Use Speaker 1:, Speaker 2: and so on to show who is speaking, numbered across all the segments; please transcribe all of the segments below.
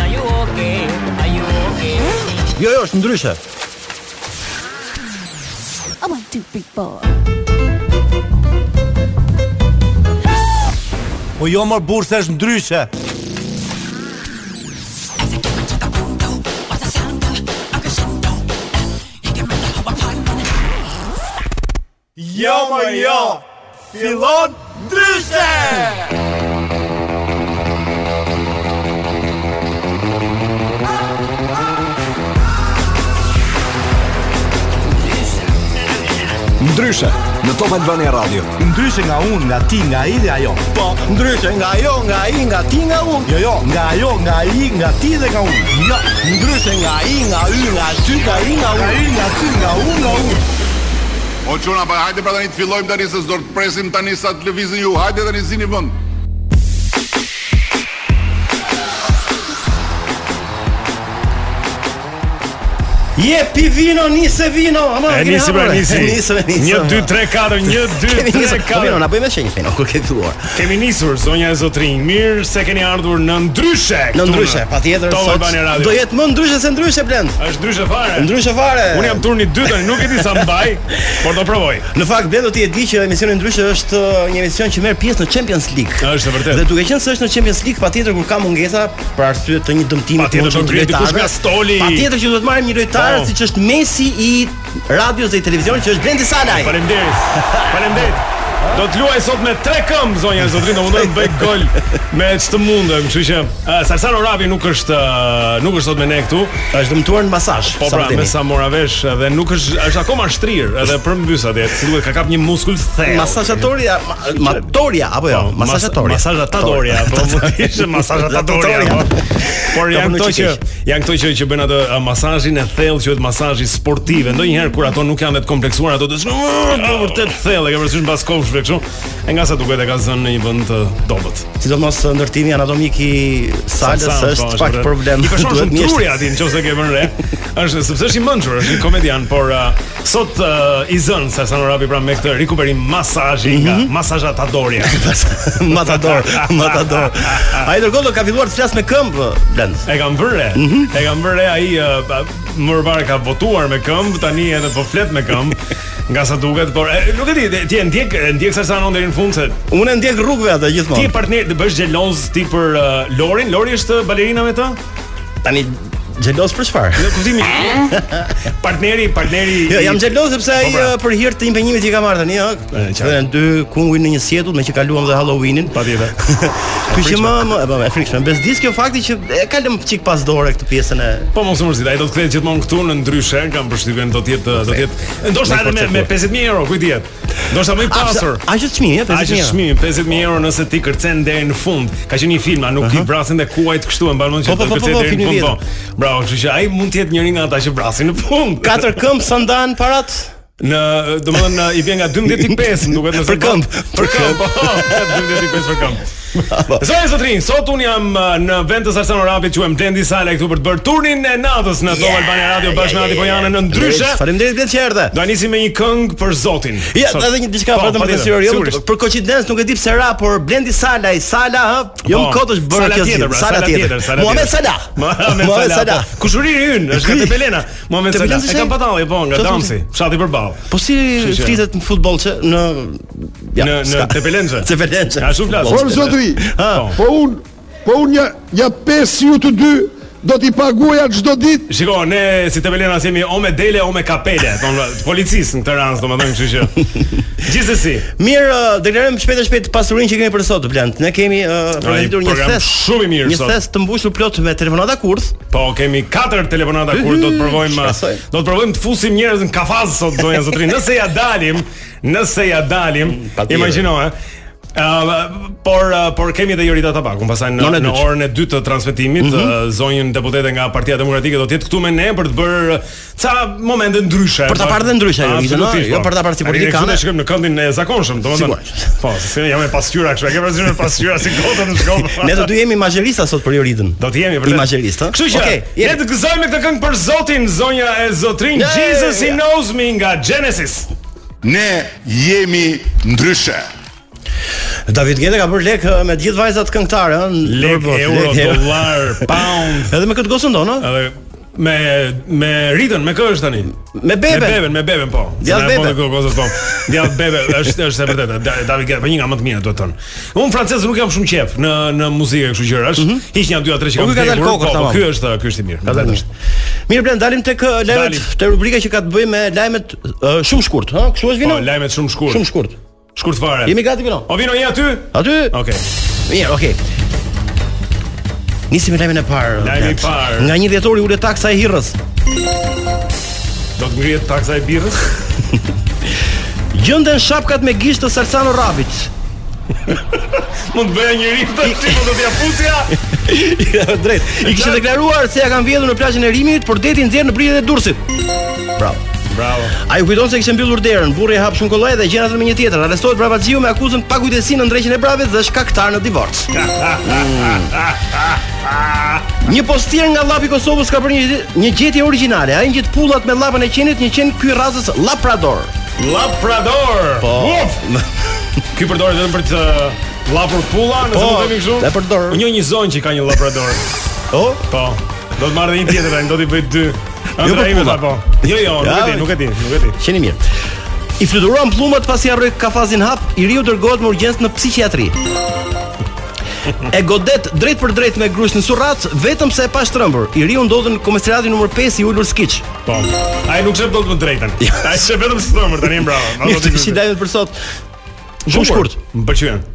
Speaker 1: okay? Are you okay?
Speaker 2: Jo, jo, është ndryshe.
Speaker 3: A one, two, three, four.
Speaker 2: Po jo mor burse është ndryshe. Jo më jo. Fillon ndryshe.
Speaker 4: Ndryshe në Top Albania Radio.
Speaker 2: Ndryshe nga unë, nga ti, nga ai dhe ajo. Po, ndryshe nga ajo, nga ai, nga ti, nga unë. Jo, jo, nga ajo, nga ai, nga ti dhe nga unë. Jo, ndryshe nga ai, nga y, nga ty, nga i, nga unë. Nga i, nga ty, nga unë, nga unë.
Speaker 5: O çuna, pa hajde pra tani të fillojmë tani se s'do të presim tani sa të lëvizin ju. Hajde tani zini vend.
Speaker 2: Je pi vino, nisi vino. Ama
Speaker 6: E nisi pra nisi.
Speaker 2: Nisi, nisi.
Speaker 6: 1 2 3 4 1 2 3
Speaker 2: Po mirë,
Speaker 6: 4.
Speaker 2: na bëjmë shenjë fino, kur ke filluar.
Speaker 6: Kemi nisur zonja e zotrinj. Mirë se keni ardhur në ndryshe.
Speaker 2: Në
Speaker 6: këtu
Speaker 2: ndryshe, patjetër
Speaker 6: Top
Speaker 2: sot
Speaker 6: Albania Radio.
Speaker 2: do jetë më ndryshe se ndryshe blend.
Speaker 6: Është ndryshe fare.
Speaker 2: Ndryshe fare.
Speaker 6: Unë jam turni dytë tani, nuk e di sa mbaj, por do provoj.
Speaker 2: Në fakt Blendo ti e di që emisioni ndryshe është uh, një emision që merr pjesë në Champions League.
Speaker 6: Është e vërtetë.
Speaker 2: Dhe duke qenë se është në Champions League, patjetër kur ka mungesa për arsye të një dëmtimi
Speaker 6: Patjetër do kryhet dikush nga stoli.
Speaker 2: Patjetër që duhet të marrim një lojtar
Speaker 6: Po.
Speaker 2: siç është Messi i radios dhe i televizionit që është Blendi Salaj.
Speaker 6: Faleminderit. Faleminderit. Do të luaj sot me tre këmbë zonja e zotrinj, do mundoj të bëj gol me ç'të mundem, kështu që uh, Salsano Rabi nuk është ë, nuk është sot me ne këtu.
Speaker 2: Është dëmtuar në masazh.
Speaker 6: Po pra, me sa mora vesh edhe nuk është është akoma shtrir, edhe përmbys atje, si duhet ka kap një muskull thellë. Po,
Speaker 2: Masazhatoria, ma- matoria apo jo?
Speaker 6: mas-
Speaker 2: Masazhatoria.
Speaker 6: Masazhatoria, po mund të ishte masazhatoria.
Speaker 2: Latoria.
Speaker 6: po. Por
Speaker 2: Ka
Speaker 6: janë
Speaker 2: punë
Speaker 6: këto
Speaker 2: që
Speaker 6: që
Speaker 2: keq.
Speaker 6: janë këto që që bën atë uh, masazhin e thellë, që është masazhi sportiv. Ndonjëherë kur ato nuk janë vetë kompleksuar, ato të shkon "Urgh, po vërtet thellë, e ke përsyesh mbas kofshëve kështu. E nga sa duket e ka zënë në një vend të dobët.
Speaker 2: Sidomos ndërtimi anatomik i Salës
Speaker 6: Sa- sa- po,
Speaker 2: është pak
Speaker 6: vërtet.
Speaker 2: problem.
Speaker 6: I përshon
Speaker 2: Duhet
Speaker 6: shumë
Speaker 2: mjesht-
Speaker 6: truri atin nëse ke vënë re. Është sepse është i mençur, është një komedian, por uh, sot uh, i zën sa Sanorapi pra me këtë rikuperim masazhi nga
Speaker 2: Mhm.
Speaker 6: masazhatadoria.
Speaker 2: Matador, matador. Ai dërgoj do ka filluar të flas me këmbë, Blend.
Speaker 6: E kam vërë. re.
Speaker 2: Mhm.
Speaker 6: E kam vërë re, ai uh, pa- më parë ka votuar me këmbë, tani edhe po flet me këmbë. Nga sa duket, por e, nuk e di, ti e ndjek e ndjek Sarsanon deri në fund se
Speaker 2: Unë e ndjek rrugëve atë
Speaker 6: ti e
Speaker 2: gjithmonë.
Speaker 6: partner të bësh xheloz ti për uh, Lorin. Lori është balerina me të?
Speaker 2: Tani xhelos për çfarë?
Speaker 6: Në kuptimin partneri, partneri.
Speaker 2: Jo,
Speaker 6: i-
Speaker 2: jam xhelos sepse ai
Speaker 6: Po pra.
Speaker 2: eh, për hir të impenjimit që i ka marrë tani, ë.
Speaker 6: qartë.
Speaker 2: Dhe në dy kunguj në një sjetull me që kaluam dhe Halloweenin.
Speaker 6: Patjetër.
Speaker 2: Kështu që më më e, po, e frikshme. Bezdis kjo fakti që e ka lëmë çik pas dore këtë pjesën e
Speaker 6: Po mos u mërzit, ai do të kthehet gjithmonë këtu në ndryshe, kam përshtypjen do të jetë do të jetë ndoshta edhe me
Speaker 2: po
Speaker 6: me 50000 euro, kujt dihet. Ndoshta më i pasur.
Speaker 2: Aq është çmimi, e
Speaker 6: Aq
Speaker 2: 50
Speaker 6: është
Speaker 2: mijë.
Speaker 6: shmimi 50000 euro nëse ti kërcen deri në fund. Ka qenë një film, a nuk i vrasin dhe kuajt kështu e mban mend që
Speaker 2: Po, po,
Speaker 6: do
Speaker 2: po,
Speaker 6: kërcen
Speaker 2: po, po,
Speaker 6: deri në
Speaker 2: filmi
Speaker 6: fund. Po.
Speaker 2: vjetër.
Speaker 6: Bravo, kështu që ai mund të jetë njëri nga ata që vrasin në fund.
Speaker 2: Katër këmbë sandan parat.
Speaker 6: Në, domethënë i vjen nga 12.5, më duket nëse
Speaker 2: Për këmbë,
Speaker 6: për këmb. po, 12.5 për këmb. Zonë Zotrin, sot un jam uh, në vend të Sarsan Orapit, quhem Blendi Sala këtu për të bërë turnin e natës në Top Albania Radio bashkë me Adi Pojanë në ndryshe.
Speaker 2: Faleminderit vetë që erdhe.
Speaker 6: Do nisim me një këngë për Zotin.
Speaker 2: Ja,
Speaker 6: Sot.
Speaker 2: edhe një diçka vetëm
Speaker 6: Po,
Speaker 2: për të
Speaker 6: patjetër,
Speaker 2: sigurisht. Jo,
Speaker 6: sigurisht.
Speaker 2: për koincidencë nuk e di pse ra, por Blendi Sala, i Sala, hë, jo
Speaker 6: Po,
Speaker 2: më kot është bërë
Speaker 6: Sala
Speaker 2: kjo
Speaker 6: tjetër,
Speaker 2: zgjidhje.
Speaker 6: pra,
Speaker 2: Sala
Speaker 6: Sala
Speaker 2: tjetër.
Speaker 6: tjetër, Sala
Speaker 2: Muhamet
Speaker 6: tjetër.
Speaker 2: Sala.
Speaker 6: Mohamed
Speaker 2: Muhamet
Speaker 6: Sala. po. Kushuriri ynë, është nga
Speaker 2: Ky.
Speaker 6: Tepelena. Mohamed
Speaker 2: Tepelena
Speaker 6: Sala.
Speaker 2: si
Speaker 6: E
Speaker 2: shej?
Speaker 6: kam patalli po nga
Speaker 2: Çfarë
Speaker 6: Damsi, fshati përballë.
Speaker 2: Po si
Speaker 6: Kështu që-
Speaker 2: flitet në futboll që në
Speaker 6: Në në Tepelenxhe.
Speaker 2: Tepelenxhe.
Speaker 6: A shumë flas?
Speaker 7: Po zotri,
Speaker 6: Ha.
Speaker 7: po un, po un ja ja pesë ju të dy do t'i paguaja çdo ditë.
Speaker 6: Shiko, ne si Tepelena si jemi o me dele o me kapele, thonë policisë në këtë rast, domethënë, kështu që. Gjithsesi,
Speaker 2: Mirë, ë, deklarojmë shpejt e shpejt pasurinë që kemi për sot, Blant. Ne kemi uh, përgatitur një
Speaker 6: program
Speaker 2: thes
Speaker 6: shumë i mirë
Speaker 2: Një
Speaker 6: sot.
Speaker 2: thes të mbushur plot me telefonata kurth.
Speaker 6: po kemi katër telefonata kur do të provojmë
Speaker 2: shpresoj.
Speaker 6: do të provojmë të fusim njerëz në kafaz sot zonja zotrin. Nëse ja dalim, nëse ja dalim,
Speaker 2: Mm, patjetër.
Speaker 6: imagjino, ë. Uh, por uh, por kemi edhe Jorita Tabakun pastaj në,
Speaker 2: Në orën e
Speaker 6: në
Speaker 2: dytë.
Speaker 6: orën e dytë të transmetimit ë, zonjën deputete nga Partia Demokratike do të jetë këtu me ne për të bërë ca momente ndryshe
Speaker 2: Për ta
Speaker 6: Po,
Speaker 2: parë dhe ndryshe, jo,
Speaker 6: absolutisht,
Speaker 2: Jorita, jo
Speaker 6: po.
Speaker 2: për ta parë si
Speaker 6: Ne
Speaker 2: politikane.
Speaker 6: këtu ne shkojmë në këndin e zakonshëm domethënë
Speaker 2: Sigurisht.
Speaker 6: po se jam me pasqyra kështu e ke përsëri me pasqyra si gota në shkollë
Speaker 2: Ne të dy jemi mazherista sot për Joridën.
Speaker 6: Do të jemi vërtet.
Speaker 2: Imazherist, ha?
Speaker 6: Kështu që
Speaker 2: Okej,
Speaker 6: le
Speaker 2: jemi.
Speaker 6: të gëzojmë me këtë këngë për Zotin, zonja e Zotrin,
Speaker 2: Yeah,
Speaker 6: Jesus he
Speaker 2: yeah.
Speaker 6: knows me nga Genesis.
Speaker 5: Ne jemi ndryshe.
Speaker 2: David Geta ka bërë lek ë, me gjithë vajzat këngëtare, ëh. në
Speaker 6: Lek,
Speaker 2: botë,
Speaker 6: euro,
Speaker 2: lek, euro.
Speaker 6: dollar, Uh, pound,
Speaker 2: Edhe me këtë gocën tonë, uh, ëh.
Speaker 6: edhe me me ritën, me kë është tani?
Speaker 2: Me
Speaker 6: Me
Speaker 2: bebe.
Speaker 6: beben, me beben po.
Speaker 2: Djallë
Speaker 6: Se na e
Speaker 2: bebe.
Speaker 6: bën kjo kozë, po. Djallë bebe është është e vërtetë. Da- David Guetta, po një nga më të mirë do të thonë. Unë francez nuk jam shumë qef në në muzikë kështu gjëra. Është hiq një dy atë që
Speaker 2: Po, ky
Speaker 6: kam.
Speaker 2: ka dalë
Speaker 6: vdekur,
Speaker 2: kokës,
Speaker 6: po, po,
Speaker 2: tamam. Mhm.
Speaker 6: Ky është ky është i mirë. vërtet është.
Speaker 2: Mirë, blen dalim tek ë, lajmet,
Speaker 6: Dalim.
Speaker 2: te rubrika që ka të bëjë me lajmet ë, shumë shkurt, ëh. Kështu është
Speaker 6: Po
Speaker 2: vino?
Speaker 6: lajmet shumë shkurt.
Speaker 2: Shumë shkurt.
Speaker 6: Shkurt fare.
Speaker 2: Jemi gati vino.
Speaker 6: O vino je aty?
Speaker 2: Aty.
Speaker 6: Okej.
Speaker 2: Mirë, okay. Nisim me lajmin e parë.
Speaker 6: Lajmi i
Speaker 2: Blet.
Speaker 6: parë.
Speaker 2: Nga një dhjetori ulet taksa e Hirrës.
Speaker 6: Do të ngrihet taksa e birrës?
Speaker 2: Gjenden shapkat me gisht të Salsano Rabit.
Speaker 6: Mund të bëja një rim tash, po do t'ja fusja.
Speaker 2: Drejt. I kishte deklaruar se ja kanë vjedhur në plazhin e Rimit, por deti nxjerr në britjet e Durrësit. Bravo.
Speaker 6: Bravo.
Speaker 2: Ai kujton se kishte mbyllur derën, burri i hap shumë kollaj dhe gjen atë me një tjetër. Arrestohet Bravaziu me akuzën pa kujdesi në ndreqjen e bravet dhe shkaktar në divorc. Mm. Një postier nga llapi i Kosovës ka bërë një, një gjetje origjinale. Ai ngjit pullat me llapën e qenit, një qen ky racës Labrador.
Speaker 6: Labrador. Po. Ky përdoret vetëm për të llapur pulla, nëse
Speaker 2: Po,
Speaker 6: mund të themi kështu.
Speaker 2: e përdor.
Speaker 6: Unë njoh një zonjë që ka një labrador.
Speaker 2: Oh,
Speaker 6: Po. Do të marr dhe një tjetër tani, do t'i bëj dy.
Speaker 2: Jo për
Speaker 6: Andra ime
Speaker 2: pulla.
Speaker 6: ta po. Jo, jo, nuk
Speaker 2: Ja,
Speaker 6: e di, nuk e di, nuk e di.
Speaker 2: qeni mirë. I fluturuan pllumat pasi harroi kafazin hap, i riu dërgohet me urgjencë në psikiatri. E godet drejt për drejt me grush në Surrat, vetëm se e pa shtrëmbur. I riu ndodhen në komisariatin numër 5 i ulur skiç.
Speaker 6: Po. Ai nuk shep dot më drejtën. Ai shep vetëm stërmër tani bravo. Ma do
Speaker 2: Mirë,
Speaker 6: t'i
Speaker 2: të
Speaker 6: bëj.
Speaker 2: kishin lajmet për sot. Shumë shkurt.
Speaker 6: Më pëlqen.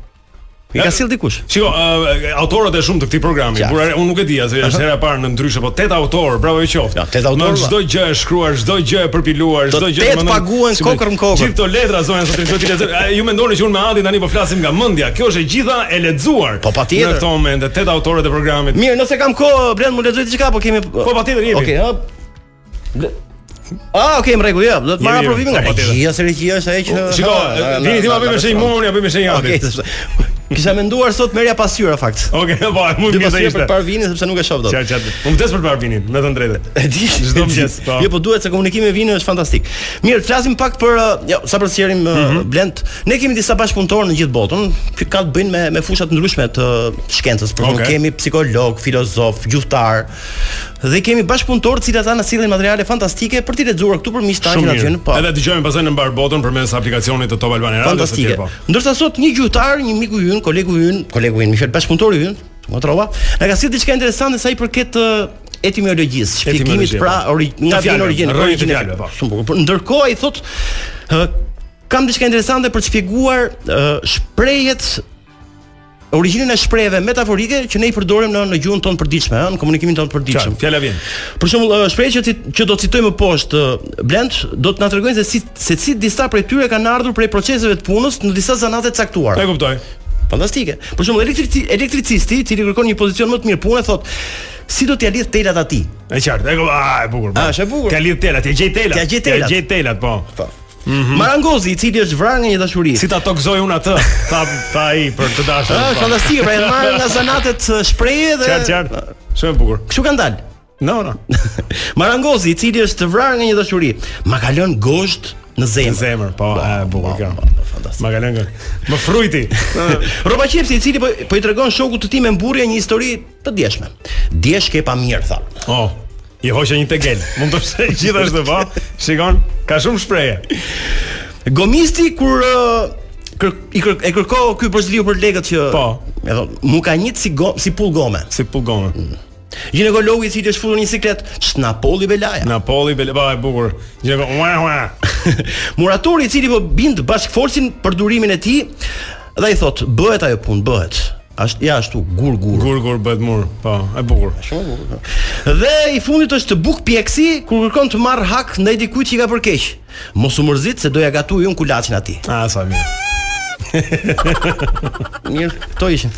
Speaker 2: I ka sill dikush.
Speaker 6: Shiko, uh, autorët e shumë të këtij programi.
Speaker 2: Qartë.
Speaker 6: Burare, unë nuk e di, se është hera e parë në ndryshe, po tet autor, bravo i qoftë.
Speaker 2: Ja, tet autor,
Speaker 6: Në
Speaker 2: valla.
Speaker 6: çdo gjë e shkruar, çdo gjë e përpiluar,
Speaker 2: Do
Speaker 6: çdo gjë.
Speaker 2: tet
Speaker 6: domethënë,
Speaker 2: paguen
Speaker 6: si me-
Speaker 2: kokër më kokër.
Speaker 6: Gjithë këto letra zonja sot do t'i lexoj. A, Ju mendoni që unë me Adin tani po flasim nga mendja. Kjo është e gjitha e lexuar.
Speaker 2: Po, patjetër.
Speaker 6: Në këto momente tet autorët e programit.
Speaker 2: Mirë, nëse kam kohë, Brend, më lexoj diçka, po kemi
Speaker 6: Po patjetër jepi.
Speaker 2: Okej, hop. Ble- Ah, okay, në rregull, ja, do të marr
Speaker 6: Jemi,
Speaker 2: aprovimin nga
Speaker 6: po, patjetër.
Speaker 2: regjia, se regjia është ajo që
Speaker 6: Shiko, vini ti ma bëj me shenjë mua, unë ja bëj me shenjë
Speaker 2: Okej,
Speaker 6: Adit.
Speaker 2: s'është. Kisha menduar sot merja pasyra fakt.
Speaker 6: Okej, po, mund
Speaker 2: Dy
Speaker 6: të
Speaker 2: pasyra për
Speaker 6: ishte.
Speaker 2: par vinin sepse nuk e shoh dot.
Speaker 6: Qartë, qartë. Unë vdes për Barbinin, me të drejtën.
Speaker 2: E di,
Speaker 6: Çdo
Speaker 2: e di.
Speaker 6: mëngjes, po.
Speaker 2: Jo, po duhet se komunikimi me vinin është fantastik. Mirë, flasim pak për uh, jo, sa për sjerim uh,
Speaker 6: Mhm.
Speaker 2: Blend. Ne kemi disa bashkëpunëtorë në gjithë botën që kanë të bëjnë me me fusha të ndryshme të shkencës. Por okay.
Speaker 6: Okej.
Speaker 2: kemi psikolog, filozof, gjuhtar dhe kemi bashkëpunëtorë të cilat kanë sillin materiale fantastike për t'i lexuar këtu për miqtë tanë që
Speaker 6: Shumë
Speaker 2: na
Speaker 6: mirë.
Speaker 2: gjën. Po.
Speaker 6: Edhe dëgjojmë pastaj në mbar botën përmes aplikacionit të Top Albania Radio së
Speaker 2: Fantastike.
Speaker 6: tjerë po.
Speaker 2: Ndërsa sot një gjuhtar, një miku i ynë, kolegu i ynë, kolegu i ynë, më fal bashkëpunëtori i ynë, Motrova, na ka sjell diçka interesante sa i përket ë, etimologjisë, shpjegimit
Speaker 6: Etimologjia,
Speaker 2: pra
Speaker 6: po.
Speaker 2: ori,
Speaker 6: Të
Speaker 2: nga vjen
Speaker 6: fjalëve,
Speaker 2: origjina,
Speaker 6: rrënjët e
Speaker 2: origjina e
Speaker 6: fjalëve, po.
Speaker 2: fjalës. Shumë bukur. Por Ndërkohë ai thotë ë kam diçka interesante për të shpjeguar ë, shprehjet origjinën e shprehjeve metaforike që ne i përdorim në në gjuhën tonë përditshme, ë, në komunikimin tonë
Speaker 6: Qartë,
Speaker 2: përditshëm.
Speaker 6: fjala vjen.
Speaker 2: Për shembull, ë, shprehja që, cit- që do të citoj më poshtë, ë, Blend, do të na tregojnë se si se si disa prej tyre kanë ardhur prej proceseve të punës në disa zanate të
Speaker 6: E
Speaker 2: caktuara.
Speaker 6: kuptoj.
Speaker 2: Fantastike. Për shembull, elektrici, elektricisti, i cili kërkon një pozicion më të mirë pune, thotë, si do t'ia lidh telat atij?
Speaker 6: E qartë. E kuptoj. Ah, e bukur. po.
Speaker 2: A, është e bukur.
Speaker 6: T'ia lidh telat, t'ia gjej telat.
Speaker 2: T'ia gjej telat.
Speaker 6: T'ia gjej telat, po.
Speaker 2: Marangozi, i cili është vrarë nga një dashuri.
Speaker 6: Si ta tokzoj unë atë? Tha tha ai për të dashur.
Speaker 2: Ah,
Speaker 6: po.
Speaker 2: fantastike, pra janë marrë nga zanatet ë, shprehje dhe
Speaker 6: Qartë, qartë. Shumë e bukur.
Speaker 2: Kështu kanë dalë.
Speaker 6: No, no.
Speaker 2: Marangozi, i cili është vrarë nga një dashuri, ma ka lënë gosht në
Speaker 6: Në
Speaker 2: zemër.
Speaker 6: zemër, po, e bukur kjo. Fantastik. Ma kanë ngër. Më frujti.
Speaker 2: Roba Qepsi i cili po, po i tregon shokut të tij me mburje një histori të djeshme. Djesh ke pa mirë tha.
Speaker 6: Oh. I hoqë një tegel. Mund të shë gjithashtu po. Shikon, ka shumë shprehje.
Speaker 2: Gomisti kur ë, kër, i kër, e kërko ky përzliu për lekët që
Speaker 6: Po.
Speaker 2: e thon, mu ka njit si go, si pull gome.
Speaker 6: Si pulgome.
Speaker 2: Ginekologu i cili është futur në një siklet, ç'na polli belaja.
Speaker 6: Napoli, bele, ba, e bukur. Gjeko, ua, ua.
Speaker 2: Muratori i cili po bind bashkëforcin për durimin e tij dhe i thot, bëhet ajo punë, bëhet. Ashtu ja ashtu gur gur.
Speaker 6: Gur gur bëhet mur. Po, e bukur.
Speaker 2: Dhe i fundit është buk pjeksi kur kërkon të marr hak ndaj dikujt që i ka përkeq. Mos u mërzit se do ja gatuj un kulaçin atij.
Speaker 6: Ah, sa mirë.
Speaker 2: Mirë, këto ishin.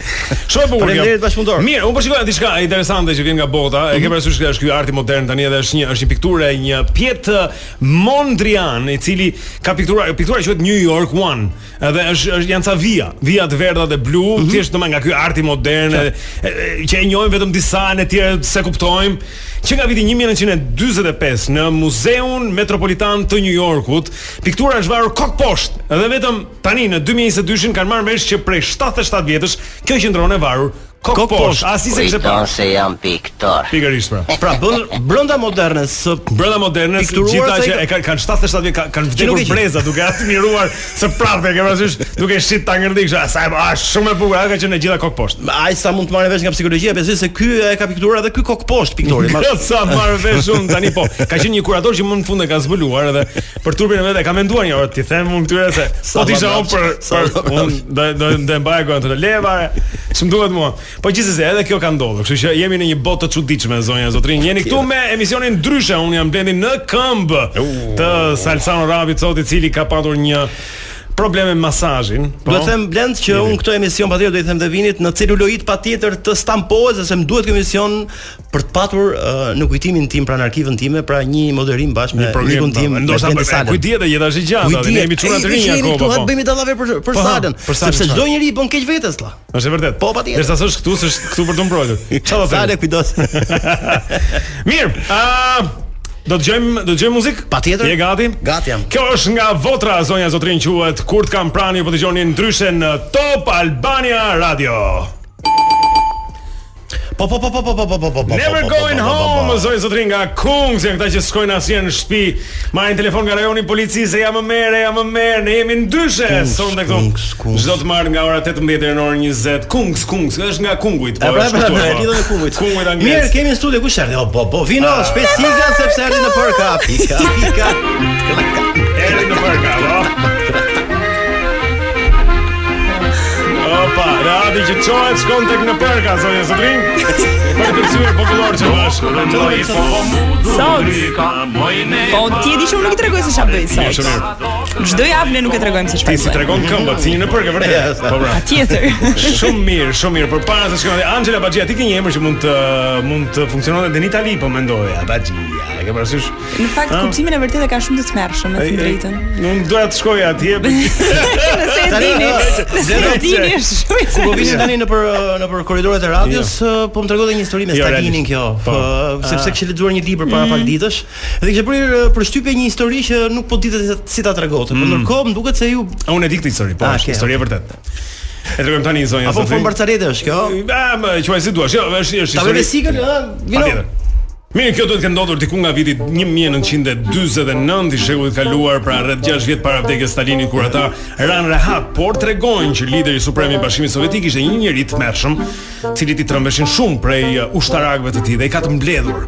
Speaker 6: Shumë e bukur. kjo.
Speaker 2: Faleminderit, bashkëpunëtor.
Speaker 6: Mirë, unë po shikoj diçka interesante që vjen nga bota. E ke parasysh që është ky arti modern tani edhe është një është një pikturë e një Piet eh, Mondrian, i cili ka pikturuar piktura quhet New York One. Edhe është është janë ca vija, vija të verdha dhe blu, thjesht domethënë nga ky arti modern e- e- e- që e njohim vetëm disa ne të tjerë se kuptojmë. që nga viti 1945 në Muzeun Metropolitan të New Yorkut, piktura është varur kok poshtë. Edhe vetëm tani në 2022-shin kanë marrë vesh që prej 77 vjetësh kjo qendron e varur kok,
Speaker 2: Kok
Speaker 6: poshtë.
Speaker 2: poshtë.
Speaker 6: Asi se kishte
Speaker 8: po.
Speaker 1: Kujton
Speaker 6: parë.
Speaker 1: se jam piktor
Speaker 6: Pikërisht pra.
Speaker 2: Pra bën brenda modernës së
Speaker 6: Brenda modernës
Speaker 2: Pikturuar
Speaker 6: gjitha
Speaker 2: sa i
Speaker 6: që
Speaker 2: ka-
Speaker 6: e kanë kanë 77 vjet ka- kanë
Speaker 2: Që nuk
Speaker 6: vdekur
Speaker 2: e gjin.
Speaker 6: breza duke admiruar se prapë e ke parasysh duke shit tangërdiksh sa e- a, shumë e bukur a ka qenë e gjitha kok poshtë.
Speaker 2: ai sa mund të marrë vesh nga psikologjia, besoj se ky e ka pikturuar edhe ky kok poshtë piktori. Ma-
Speaker 6: Ka sa marrë vesh unë tani po. Ka qenë një kurator që më në fund e ka zbuluar edhe për turpin e vet e ka menduar një orë ti them unë këtyre se po ti isha
Speaker 2: babaç,
Speaker 6: unë për
Speaker 2: sa
Speaker 6: për
Speaker 2: babaç.
Speaker 6: unë do do do mbaj gjën të levare. Ç'm duhet mua. Po gjithsesi edhe kjo ka ndodhur, kështu që jemi në një botë të çuditshme zonja zotrin. Jeni këtu me emisionin ndryshe, unë jam blendi në këmbë të Salsano Rabit sot i cili ka patur një probleme me masazhin. po.
Speaker 2: Do të them blend që unë këtë emision patjetër do i them dhe vinit në celuloid patjetër të stampohet sepse më duhet kjo emision për të patur ë, në kujtimin tim pranë arkivën time, pra një moderim bashkë me mikun tim. me
Speaker 6: po. ndoshta
Speaker 2: Blendi Salën.
Speaker 6: ku dihet jetë është i gjatë,
Speaker 2: Kujt
Speaker 6: ne jemi çuna
Speaker 2: e,
Speaker 6: të rinj
Speaker 2: jemi
Speaker 6: akoma.
Speaker 2: këtu,
Speaker 6: po.
Speaker 2: hajtë bëjmë dallave për për
Speaker 6: Po,
Speaker 2: Salën,
Speaker 6: për Salën,
Speaker 2: sepse
Speaker 6: çfarë?
Speaker 2: çdo njeri i bën keq vetes vlla.
Speaker 6: Është e vërtet.
Speaker 2: Po, patjetër.
Speaker 6: Derisa s'është këtu, s'është këtu për të mbrojtur. Çfarë do të
Speaker 2: Sale
Speaker 6: them?
Speaker 2: kujdes.
Speaker 6: Mirë. Ë Do të gjejmë do të gjejmë muzikë?
Speaker 2: Patjetër.
Speaker 6: Je gati?
Speaker 2: Gati jam.
Speaker 6: Kjo është nga Votra zonja Zotrin quhet Kur të kam pranë ju po dëgjoni ndryshe në Top Albania Radio.
Speaker 2: Po po po po po po po po po. po,
Speaker 6: Never
Speaker 2: po, po,
Speaker 6: going
Speaker 2: po, po, po, po.
Speaker 6: home zonja Zotrin nga Kungs, janë këta që s'kojnë asnjë në shtëpi, marrin telefon nga rajoni i policisë, ja më merre, ja më merre, ne jemi ndryshe sonte
Speaker 2: Kungs,
Speaker 6: këtu.
Speaker 2: Kungs.
Speaker 6: Çdo të marr nga ora 18 deri në orën 20. Kungs, Kungs, është nga
Speaker 2: E
Speaker 6: Kunguit, po.
Speaker 2: pra
Speaker 6: është
Speaker 2: pra
Speaker 6: këtu,
Speaker 2: pra, e
Speaker 6: po.
Speaker 2: lidhën e kungujt.
Speaker 6: Kunguit anglisht.
Speaker 2: Mirë, kemi në studio kush erdhi? O, po, po, vino, shpejt siga sepse erdhi në përka. Pika, pika.
Speaker 6: Erdhi në park, apo? Opa, radi që qohet shkon tek në përka, zonja Zotrin Për të pësyre popullor që bashkë po.
Speaker 9: Sot. Po ti e di shumë nuk i tregoj se çfarë bëj sot.
Speaker 6: Shumë mirë
Speaker 9: Çdo javë ne nuk e tregojmë se
Speaker 6: Ti si
Speaker 9: çfarë bëj.
Speaker 6: tregon këmbët, si një në përka,
Speaker 2: Ja,
Speaker 6: vërtet
Speaker 2: sa.
Speaker 6: Po pra
Speaker 9: Patjetër.
Speaker 6: Shumë mirë, shumë mirë. Përpara se shkojmë te Angela Baxhia, ti ke një emër që mund të mund të funksiononte edhe në Itali, po mendoja, Baxhia. E ke parasysh?
Speaker 9: Në fakt
Speaker 6: Ah.
Speaker 9: kuptimin e vërtetë ka shumë të tmerrshëm, me të drejtën.
Speaker 6: Unë doja të shkoja atje.
Speaker 9: Nëse e dini, nëse e dini është shumë i
Speaker 2: Po
Speaker 9: tmerrshëm.
Speaker 2: vini tani në për në për korridoret e radios, po më tregonte një histori me
Speaker 6: Jo,
Speaker 2: Stalinin
Speaker 6: realisht.
Speaker 2: kjo,
Speaker 6: Po.
Speaker 2: po, sepse kishte lexuar një libër para pak ditësh dhe kishte bërë përshtypje një histori që nuk po ditet se- si ta tregonte. Po ndërkohë më duket se ju
Speaker 6: Unë e di këtë histori, po,
Speaker 2: Ah,
Speaker 6: është
Speaker 2: okay.
Speaker 6: histori e vërtetë. E tregojmë tani zonja
Speaker 2: apo
Speaker 6: Zotrin.
Speaker 2: fon barcarete është kjo.
Speaker 6: Ah, më quaj si duash. Jo, është është
Speaker 2: Ta
Speaker 6: histori-
Speaker 2: vëre sikën, ë, vino.
Speaker 6: Patjetër. Mirë, kjo duhet të ketë ndodhur diku nga viti 1949 i shekullit kaluar, pra rreth 6 vjet para vdekjes së Stalinit kur ata ran rehat, por tregojnë që lideri suprem i Bashkimit Sovjetik ishte një njerëz të mërshëm, cilit i trembeshin shumë prej uh, ushtarakëve të tij dhe i ka të mbledhur.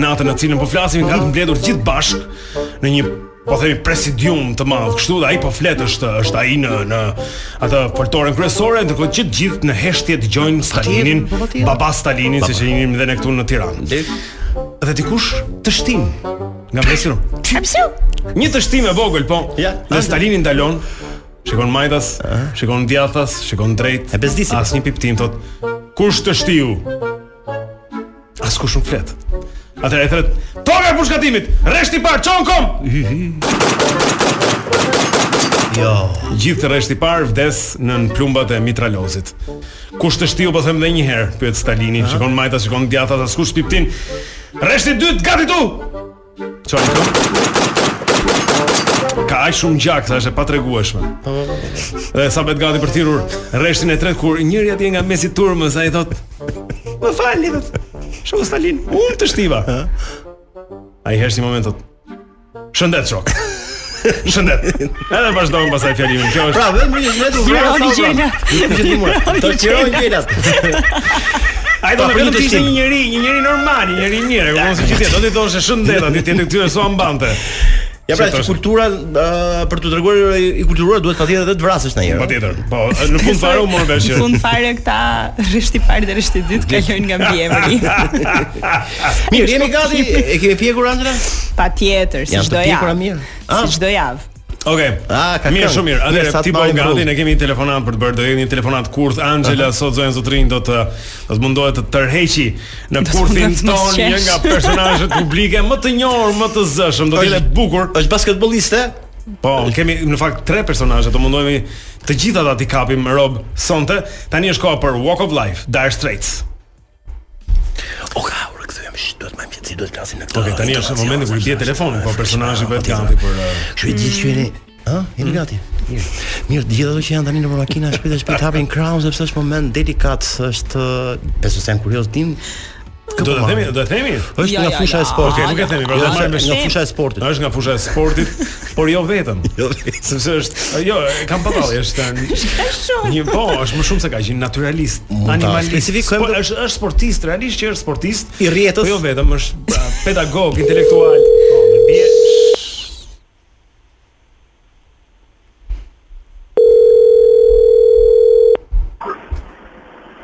Speaker 6: Natën në cilën po flasim, i ka të mbledhur gjithë bashk në një po themi presidium të madh. Kështu dhe ai po flet është është ai në në atë foltorën kryesore, ndërkohë që të gjithë në heshtje dëgjojnë Stalinin,
Speaker 2: po, patjetër.
Speaker 6: baba Stalinin, siç e njohim dhe ne këtu në Tiranë dhe dikush të shtim nga mesi rom. Një të shtim e vogël, po.
Speaker 2: Ja.
Speaker 6: Dhe Stalini ndalon. Shikon majtas, shikon djathas, shikon drejt.
Speaker 2: E bezdisi.
Speaker 6: Asnjë piptim thot. Kush të shtiu? Askush nuk flet. Atëherë e thret, "Toka e pushkatimit, rreshti par, çon kom."
Speaker 2: Jo.
Speaker 6: Gjithë rreshti par vdes nën plumbat e mitralozit. Kush të shtiu po them edhe një herë, pyet Stalini. Shikon majtas, shikon djathas, askush piptin. Rreshti dytë gati tu. Çfarë këtu? Ka aq shumë gjak sa është e patregueshme. Dhe sa bet gati për thirrur rreshtin e tretë kur njëri atje nga mesi turmës ai thot: "Më falni thot. Shoku Stalin, unë të shtiva." Ai heshti një moment thot: "Shëndet shok." Shëndet. Edhe vazhdojmë pasaj fjalimin. Kjo është
Speaker 2: Pra, vetëm një vetë u vra.
Speaker 9: Qironi gjelat.
Speaker 2: Të qironi gjelat.
Speaker 6: Ai do
Speaker 2: Pa, për
Speaker 6: të
Speaker 2: një
Speaker 6: vetëm
Speaker 2: të
Speaker 6: të ishte
Speaker 2: shtim.
Speaker 6: një njerëz, një njerëz normal, një njerëz mirë, kupton se gjithë do të thonë shëndet aty tjetër këtyre so ambante.
Speaker 2: Ja pra,
Speaker 6: Si thosh?
Speaker 2: që kultura ë, për të treguar i kulturuar duhet patjetër edhe të vrasësh ndonjëherë.
Speaker 6: Patjetër. Po, në fund fare u mor vesh. që-
Speaker 9: Në fund fare këta rreshti parë dhe rreshti dytë kalojnë nga mbiemri.
Speaker 2: Mirë, jemi gati. E kemi pjekur Angela?
Speaker 9: Patjetër, si
Speaker 2: Janë të
Speaker 9: çdo
Speaker 2: pjekura
Speaker 9: javë.
Speaker 2: mirë.
Speaker 9: Si
Speaker 2: Ah.
Speaker 9: çdo javë.
Speaker 6: Okej.
Speaker 2: Ah, ka
Speaker 6: mirë,
Speaker 2: këngë.
Speaker 6: shumë mirë.
Speaker 2: Mirë, sa
Speaker 6: Atëherë
Speaker 2: të
Speaker 6: ti po
Speaker 2: marrim
Speaker 6: gati,
Speaker 2: rrugë.
Speaker 6: ne kemi një telefonat për të bërë, do jemi një telefonat kurth. Angela sot zonja Zotrin do të do të mundohet të tërheqi në
Speaker 9: të
Speaker 6: kurthin
Speaker 9: mundohet të mos
Speaker 6: ton një
Speaker 9: qesh.
Speaker 6: nga personazhet publike më të njohur, më të zëshëm, do të jetë e bukur.
Speaker 2: Është basketbolliste?
Speaker 6: Po, kemi në fakt tre personazhe, do mundohemi të gjitha ta t'i kapim rob sonte. Tani është koha për Walk of Life, Dire Straits.
Speaker 2: O ka, u rikthyem. Shh, duhet më mjet, si duhet të flasim në këtë.
Speaker 6: Okej, Po, tani është momenti kur i bie telefoni, po personazhi bëhet kanti për Hmm? uh,
Speaker 2: Kështu i gjithë që jeni, ha? Jemi gati. Mirë. Mirë, të gjithë ato që janë tani nëpër makina shpejt e shpejt hapin krahun sepse është moment delikat, është besoj se janë kurioz tim.
Speaker 6: Do të themi, do të themi.
Speaker 2: Është
Speaker 1: Ja,
Speaker 2: nga
Speaker 1: ja,
Speaker 2: fusha
Speaker 1: ja.
Speaker 2: e sportit.
Speaker 6: Okej, nuk e themi, pra,
Speaker 2: Jo,
Speaker 6: do
Speaker 2: është
Speaker 6: marrim me
Speaker 2: nga
Speaker 6: shef.
Speaker 2: fusha e sportit.
Speaker 6: Është nga fusha e sportit, por jo vetëm.
Speaker 2: Jo, vetëm.
Speaker 6: Sepse është, jo, e kam patalli, është
Speaker 9: shumë.
Speaker 6: një po, është më shumë se kaq, një naturalist,
Speaker 2: ta
Speaker 6: animalist.
Speaker 2: specifikojmë
Speaker 6: Spo-
Speaker 2: dhe-
Speaker 6: Është është sportist, realisht që është sportist.
Speaker 2: I rrjetës.
Speaker 6: Po jo vetëm, është pra, pedagog, intelektual. Po, më bie.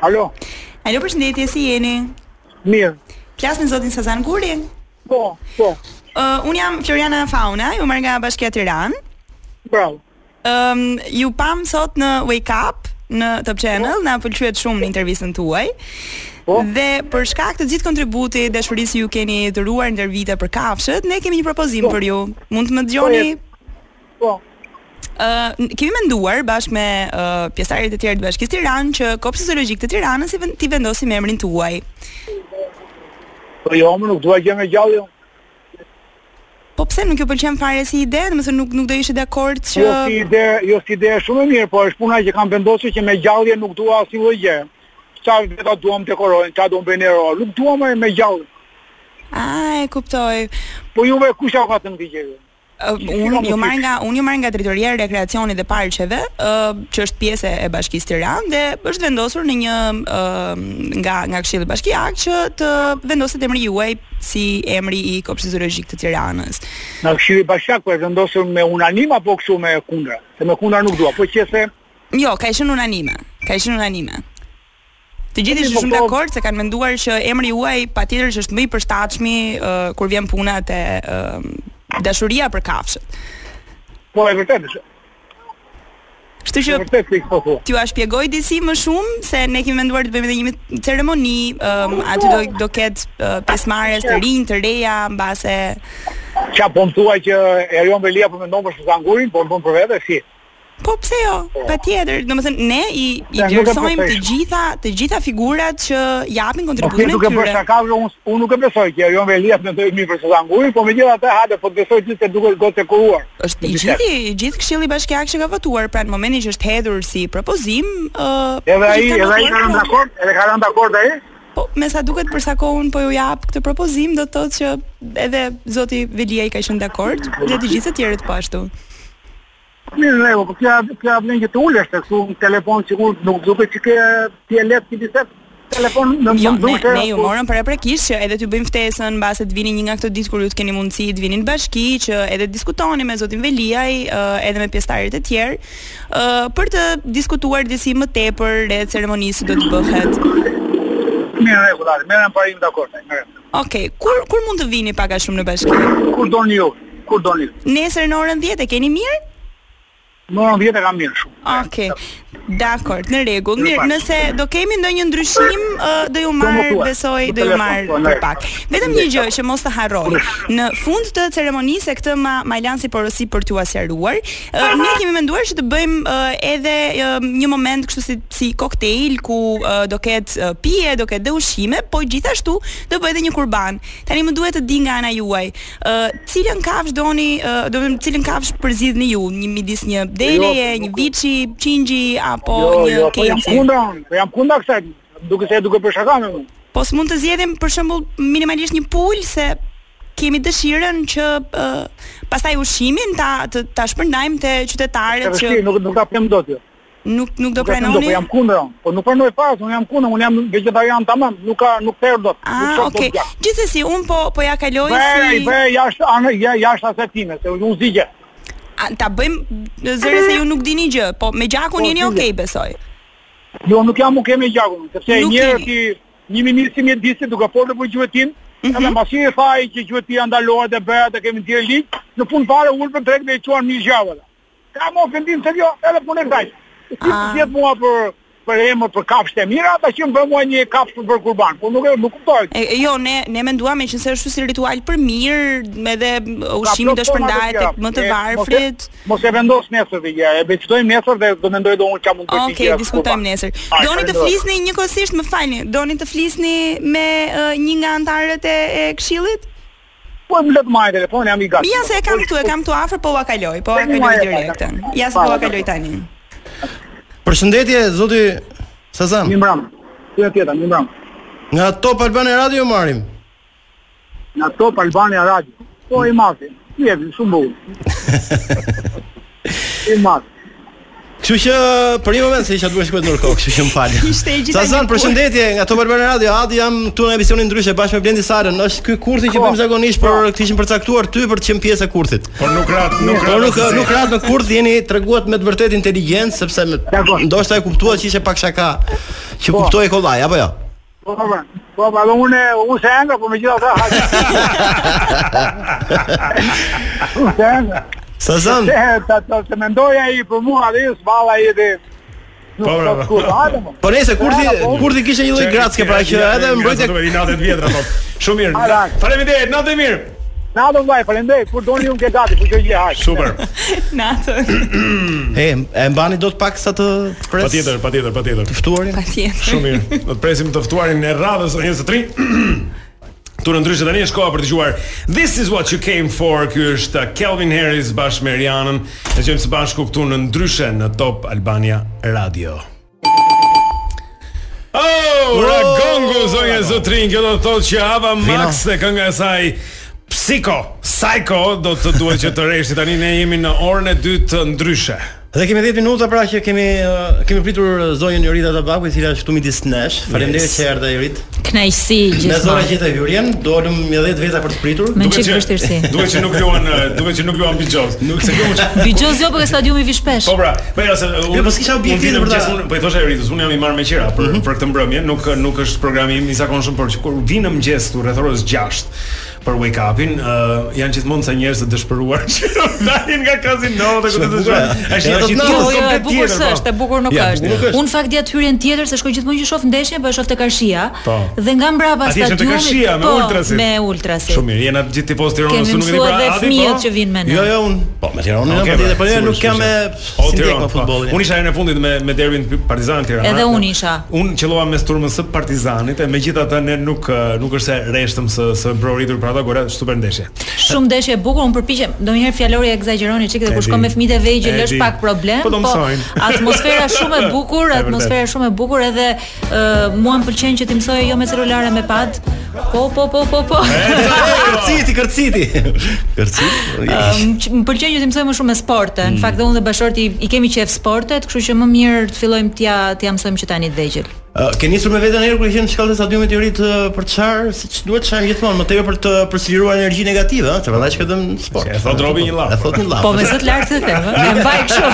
Speaker 10: Alo,
Speaker 9: Alo, përshëndetje, si jeni?
Speaker 10: mirë.
Speaker 9: Plas me zotin Sazan Guri.
Speaker 10: Po, po,
Speaker 9: Uh, un jam Floriana Fauna, ju marr nga Bashkia Tiranë.
Speaker 10: bravo.
Speaker 9: Ëm ju pam sot në Wake Up në Top Channel, na pëlqyet shumë në intervistën tuaj.
Speaker 10: Po.
Speaker 9: Dhe për shkak të gjithë kontributit, dashurisë që ju keni dhuruar ndër vite për kafshët, ne kemi një propozim për ju. Mund të më dëgjoni?
Speaker 10: Po,
Speaker 9: Ë, n- kemi menduar bashkë me uh, pjesëtarët e tjerë të Bashkisë Tiranë që Kopshti Zoologjik të Tiranës i ven- t'i vendosim emrin tuaj.
Speaker 10: po jo, më nuk dua gjë nga gjallë. jo.
Speaker 9: Po pse nuk ju pëlqen fare si ide, domethënë nuk nuk do ishi dakord që
Speaker 10: Jo si ide, jo si ide është shumë e mirë, po është puna që kam vendosur që me gjallje nuk dua asnjë lloj gjë. Qa veta duam dekorojnë, qa duam bëjnë ero, nuk duam e me gjallë.
Speaker 9: A, e kuptoj.
Speaker 10: Po juve kush au ka thënë këtë gjë?
Speaker 9: Uh, unë ju marr nga unë ju marr nga drejtoria e rekreacionit dhe parqeve, uh, që është pjesë e Bashkisë Tiranë dhe është vendosur në një uh, nga nga Këshilli Bashkiak që të vendoset emri juaj si emri i Kopshtit Zoologjik të Tiranës.
Speaker 10: Në këshiri bashak, po e vendosur me unanim apo kështu me kundra? Se me kundra nuk dua, po qëse,
Speaker 9: Jo, ka qenë unanime. Ka qenë unanime. Të gjithë
Speaker 10: Mirë,
Speaker 9: ishin shumë
Speaker 10: po, po.
Speaker 9: dakord se kanë menduar që emri juaj patjetër që është më i përshtatshëm uh, kur vjen puna te uh, dashuria për kafshët.
Speaker 10: po e vërtet është,
Speaker 9: Kështu
Speaker 10: e
Speaker 9: që
Speaker 10: vërtet se i po thua.
Speaker 9: t'ju a shpjegoj disi më shumë se ne kemi menduar të bëjmë edhe një ceremoni, um, aty do do ketë uh, pjesëmarrës të rinj, të reja, mbase
Speaker 10: Qa po më thua që Erion Velia po mendon për Shazangurin, po më bën për vete, si.
Speaker 9: Po pse jo? Patjetër, domethënë ne i i
Speaker 10: Ja, nuk e
Speaker 9: vlerësojmë të
Speaker 10: përfesh.
Speaker 9: gjitha të gjitha figurat që japin
Speaker 10: Nuk e
Speaker 9: kontributin e
Speaker 10: nuk e bësh
Speaker 9: tyre.
Speaker 10: shaka, unë unë nuk e besoj jo që Erion Velia mendoi mirë për Shazangurin, po megjithatë hajde po të besoj gjithë se duket gotë e kuruar.
Speaker 9: Është i gjithë i gjithë Këshilli Bashkiak që ka votuar, pra në momentin që është hedhur si propozim, ë
Speaker 10: Edhe ai,
Speaker 9: gjithë kanë
Speaker 10: edhe ai
Speaker 9: votuar për.
Speaker 10: ka rënë dakord, edhe ka rënë dakord ai.
Speaker 9: Po me sa duket për sa kohë unë po ju jap këtë propozim, do të thotë që edhe zoti Velia i ka qenë dakord dhe të gjithë të tjerët po ashtu.
Speaker 10: Mirë, ne, po kja kja vlen që të ulesh tek këtu në telefon sigur nuk duket që ke ti e lehtë ti bisedë. Telefon në
Speaker 9: Jo,
Speaker 10: në
Speaker 9: ne,
Speaker 10: duke.
Speaker 9: ne ju morëm për e prekisht që edhe t'ju bëjmë ftesën mbase të vini një nga këto ditë kur ju të keni mundësi të vini në bashki që edhe diskutoni me zotin Veliaj ë, edhe me pjesëtarët e tjerë ë, për të diskutuar disi më tepër rreth ceremonisë që do të bëhet.
Speaker 10: Mirë, rregull, merrem parim dakord, ai, merrem.
Speaker 9: Okej, kur kur mund të vini pak a shumë në bashki?
Speaker 10: Kur doni ju? Kur doni?
Speaker 9: Nesër në orën 10 e keni mirë?
Speaker 10: Në orën 10 e kam mirë shumë.
Speaker 9: Okej. Dakor, në rregull.
Speaker 10: Mirë,
Speaker 9: Mirë,
Speaker 10: pak.
Speaker 9: nëse do kemi ndonjë ndryshim, ë, do ju
Speaker 10: më
Speaker 9: marr
Speaker 10: thuaj.
Speaker 9: besoj,
Speaker 10: Në
Speaker 9: do ju
Speaker 10: telefon,
Speaker 9: marr
Speaker 10: po,
Speaker 9: për
Speaker 10: ne.
Speaker 9: pak. Vetëm një gjë që mos të harroj. Në fund të ceremonisë e këtë ma ma lan si porosi për t'u asjaruar, ë, ne kemi menduar që të bëjmë ë, edhe ë, një moment kështu si si koktejl ku ë, do ketë ë, pije, do ketë dhe ushqime, po gjithashtu do bëhet edhe një kurban. Tani më duhet të di nga ana juaj, ë, cilën kafsh doni, ë, do të them cilën kafsh përzidhni ju, një midis
Speaker 10: Jo,
Speaker 9: një deleje, një viçi, qingji apo një
Speaker 10: po jam
Speaker 9: keci.
Speaker 10: kundra unë, po jam kundra kësaj. Duke se e duke për shaka me unë.
Speaker 9: Po s'mund të zgjedhim për shembull minimalisht një pul se kemi dëshirën që uh, pastaj ushqimin ta të, ta shpërndajmë te
Speaker 10: Se
Speaker 9: qytetarët që
Speaker 10: vështirë, nuk nuk ta pjem dot jo.
Speaker 9: nuk nuk do
Speaker 10: Nuk e them dot,
Speaker 9: pranoni.
Speaker 10: Po jam kundër. unë. Po nuk pranoj fare, unë jam kundër, unë jam vegetarian tamam, nuk ka nuk therr dot.
Speaker 9: Ah, okay. Gjithsesi, un po po ja kaloj
Speaker 10: Bëj,
Speaker 9: si
Speaker 10: bëj jashtë anë ja, jashtë asetime, se unë zgjidhe.
Speaker 9: A, ta bëjmë zëre se ju nuk dini gjë, po me gjakun
Speaker 10: Po,
Speaker 9: jeni
Speaker 10: zgjidhe.
Speaker 9: okay besoj.
Speaker 10: Jo, nuk jam nuk kemi gjakun, sepse
Speaker 9: Nuk
Speaker 10: një
Speaker 9: jeni.
Speaker 10: ti një ministër një disë duke folur për gjuetin,
Speaker 9: Mhm.
Speaker 10: edhe pasi e faj që gjuetia ndalohet dhe bëhet dhe kemi ndjerë ligj, në fund fare ul për drejt dhe i çuan mi gjavëlla. Ka më ofendim se jo, edhe punë e kësaj. Ti të
Speaker 9: Ah.
Speaker 10: jetë mua për për emër për kafshë të mira, ata që më bën mua një kafshë për kurban. Po nuk e nuk kuptoj.
Speaker 9: E, e, jo, ne ne menduam që se është si ritual për mirë, edhe ushqimi
Speaker 10: Ka
Speaker 9: do
Speaker 10: plot forma të
Speaker 9: shpërndahet
Speaker 10: tjera.
Speaker 9: tek më të
Speaker 10: E,
Speaker 9: varfrit.
Speaker 10: Mos e, mos e vendos nesër të gjë. E beftojmë nesër dhe do mendoj do unë çfarë mund të bëj.
Speaker 9: Okej, okay, diskutojmë nesër. Doni të flisni njëkohësisht, më falni, doni të flisni me ë, një nga antarët e, e këshillit?
Speaker 10: Po më lë të marr telefonin, jam i gatshëm.
Speaker 9: Mija se e kam këtu, e kam këtu afër, po ua kaloj, po ua kaloj
Speaker 10: Po, mirë,
Speaker 9: direktën.
Speaker 10: mirë,
Speaker 9: Ja se
Speaker 10: mirë,
Speaker 9: po ua
Speaker 10: mirë.
Speaker 9: kaloj tani.
Speaker 2: Përshëndetje zoti Sazan.
Speaker 10: Mi mbrëm. Ty tjetër, mi mbrëm.
Speaker 2: Nga Top Albania Radio marrim.
Speaker 10: Në Top Albania Radio. Po i mati. Ti je shumë bukur. I mati.
Speaker 2: Kështu që për një moment se isha duke shkuar në Nurkok, kështu që më fal.
Speaker 9: Ishte e gjitha
Speaker 2: Sazan,
Speaker 9: një kurth.
Speaker 2: përshëndetje nga Top Albania Radio. Adi jam këtu në emisionin ndryshe bashkë me Blendi Sarën. Është ky kurthi që
Speaker 10: Po,
Speaker 2: bëjmë zakonisht, por kishim përcaktuar ty për të qenë pjesë e kurthit.
Speaker 6: Por nuk rat, nuk
Speaker 2: Po
Speaker 6: rat.
Speaker 2: nuk nuk rat në kurth jeni treguat me të vërtetë inteligjencë sepse me,
Speaker 10: Dakor.
Speaker 2: ndoshta e kuptuat që ishte pak shaka, që
Speaker 10: Po.
Speaker 2: kuptoi kollaj apo jo.
Speaker 10: Po po. Po po, unë unë se engra, po megjithatë hajde. Unë se engra.
Speaker 2: Sazan,
Speaker 10: Se ta ta të mendoj ai për mua dhe ju s'valla ai dhe
Speaker 6: Po, bravo.
Speaker 2: po nëse kurthi kurthi kishte një lloj gracke pra që edhe mbrojtja
Speaker 6: i natën e vjetra thot. Shumë mirë.
Speaker 10: Ara.
Speaker 6: Faleminderit, natë e mirë.
Speaker 10: Na do vllai, falendej, kur doni unë ke gati, kur gjë haj.
Speaker 6: Super.
Speaker 9: Natën.
Speaker 2: e e mbani dot pak sa të pres.
Speaker 6: Patjetër, patjetër, patjetër.
Speaker 2: ftuarin.
Speaker 9: Patjetër.
Speaker 6: Shumë mirë. Do të presim të ftuarin e radhës së 23. Turë ndryshe tani është koha për të dëgjuar This is what you came for. Ky është Calvin Harris bashkë me Rihanën. Ne jemi së bashku këtu në ndryshe në Top Albania Radio. Oh, Ragongu zonja e zotrin, kjo do të thotë që Ava Max dhe kënga e saj Psycho, Psycho do të duhet që të rreshti tani ne jemi në orën e dytë të ndryshe.
Speaker 2: Dhe kemi 10 minuta pra që kemi uh, kemi pritur uh, zonjën Jorita Tabaku, e cila është këtu midis nesh. Faleminderit
Speaker 6: Yes.
Speaker 2: që erdhe Jorit.
Speaker 8: Knajsi
Speaker 2: Ne zora
Speaker 8: gjithmonë.
Speaker 2: gjithë hyrjen, dolëm 10 veta për të pritur.
Speaker 8: Me
Speaker 6: Duket
Speaker 8: çik
Speaker 6: që-
Speaker 8: vështirësi.
Speaker 6: Duket që nuk luan, eh, duket që nuk luan Bijoz. Nuk se kjo. është-
Speaker 8: Bigjoz jo, por ke stadiumi vishpesh.
Speaker 6: Po pra, po ja se unë
Speaker 8: Jo,
Speaker 2: po s'kisha
Speaker 6: unë
Speaker 2: objektive
Speaker 6: vitëm
Speaker 2: për ta-
Speaker 6: gjes- unë- Po i thosha Eritës, unë jam i marrë me qira për
Speaker 8: Mhm.
Speaker 6: për këtë mbrëmje, nuk nuk është programi im i zakonshëm, por që kur vi në mëngjes tu rreth orës 6 për wake upin, uh, janë gjithmonë sa njerëz të dëshpëruar që dalin nga kazino dhe ku
Speaker 2: Shumë
Speaker 6: të
Speaker 2: e bukur,
Speaker 6: dëshpërojnë.
Speaker 2: e.
Speaker 6: Është një
Speaker 2: Jo, jo,
Speaker 6: rrugë
Speaker 8: Jo, jo, e
Speaker 6: komplet
Speaker 8: bukur
Speaker 6: tjetër, po.
Speaker 8: s'është, e bukur nuk
Speaker 2: Ja,
Speaker 8: është.
Speaker 2: bukur nuk është.
Speaker 8: Unë fakt dia të hyrjen tjetër se shkoj gjithmonë që shoh ndeshjen, po e shoh tek Karshia
Speaker 6: Po.
Speaker 8: dhe nga mbrapa
Speaker 6: Atje ishin tek
Speaker 8: stadiumit.
Speaker 6: Karshia, me
Speaker 8: po,
Speaker 6: ultrasin.
Speaker 8: Me ultrasin.
Speaker 6: Shumë mirë, jena gjithë tifoz Tiranës,
Speaker 8: Kemi
Speaker 6: unë nuk e di
Speaker 8: mësuar
Speaker 6: pra
Speaker 8: edhe
Speaker 6: Adi,
Speaker 8: fëmijët
Speaker 6: po.
Speaker 8: që vinë me ne.
Speaker 2: Jo, jo, unë, po me Tiranë,
Speaker 6: Okej,
Speaker 2: okay,
Speaker 6: pra,
Speaker 2: po jo,
Speaker 6: sigurisht,
Speaker 2: nuk kam me
Speaker 6: sigurisht. O,
Speaker 2: sintek
Speaker 6: Tiranë,
Speaker 2: me
Speaker 6: po.
Speaker 2: futbollin.
Speaker 6: Unë isha herën e fundit me me derbin Partizan Tirana.
Speaker 8: Edhe unë isha.
Speaker 6: Unë qellova mes turmës së Partizanit, e megjithatë ne nuk eh, nuk është se reshtëm së së broritur për ata gora super ndeshje.
Speaker 8: Shumë ndeshje e bukur, unë përpiqem. Domnjëherë fjalori e egzagjeroni çik dhe
Speaker 6: E
Speaker 8: kur
Speaker 6: di.
Speaker 8: shkon me fëmijët e vegjël
Speaker 6: E
Speaker 8: lësh
Speaker 6: di.
Speaker 8: pak problem,
Speaker 6: Po do mësojnë.
Speaker 8: atmosfera shumë e bukur,
Speaker 6: E
Speaker 8: atmosfera shumë e bukur edhe ë, mua më pëlqen që ti mësoje jo me celulare me pad. Po, po, po, po, po.
Speaker 2: Kërciti, kërciti. Kërciti.
Speaker 6: Um,
Speaker 8: Ëm, që- Më pëlqen që të mësoj më shumë me sporte. Në fakt dhe unë dhe bashorti i- i kemi qef sportet, kështu që më mirë të fillojmë t'ja t'ja mësojmë që tani të vegjël.
Speaker 2: Ë, Uh, Ke nisur me veten herë kur qenë në shkallën e stadiumit të rit ë, për çfarë, siç duhet çfarë gjithmonë, më tepër për të përsëritur energji negative, ëh, se prandaj që vetëm sport.
Speaker 6: E thot Robi një llaf.
Speaker 2: E thot një llaf.
Speaker 8: Po me zot lart se them, ë, e mbaj kështu.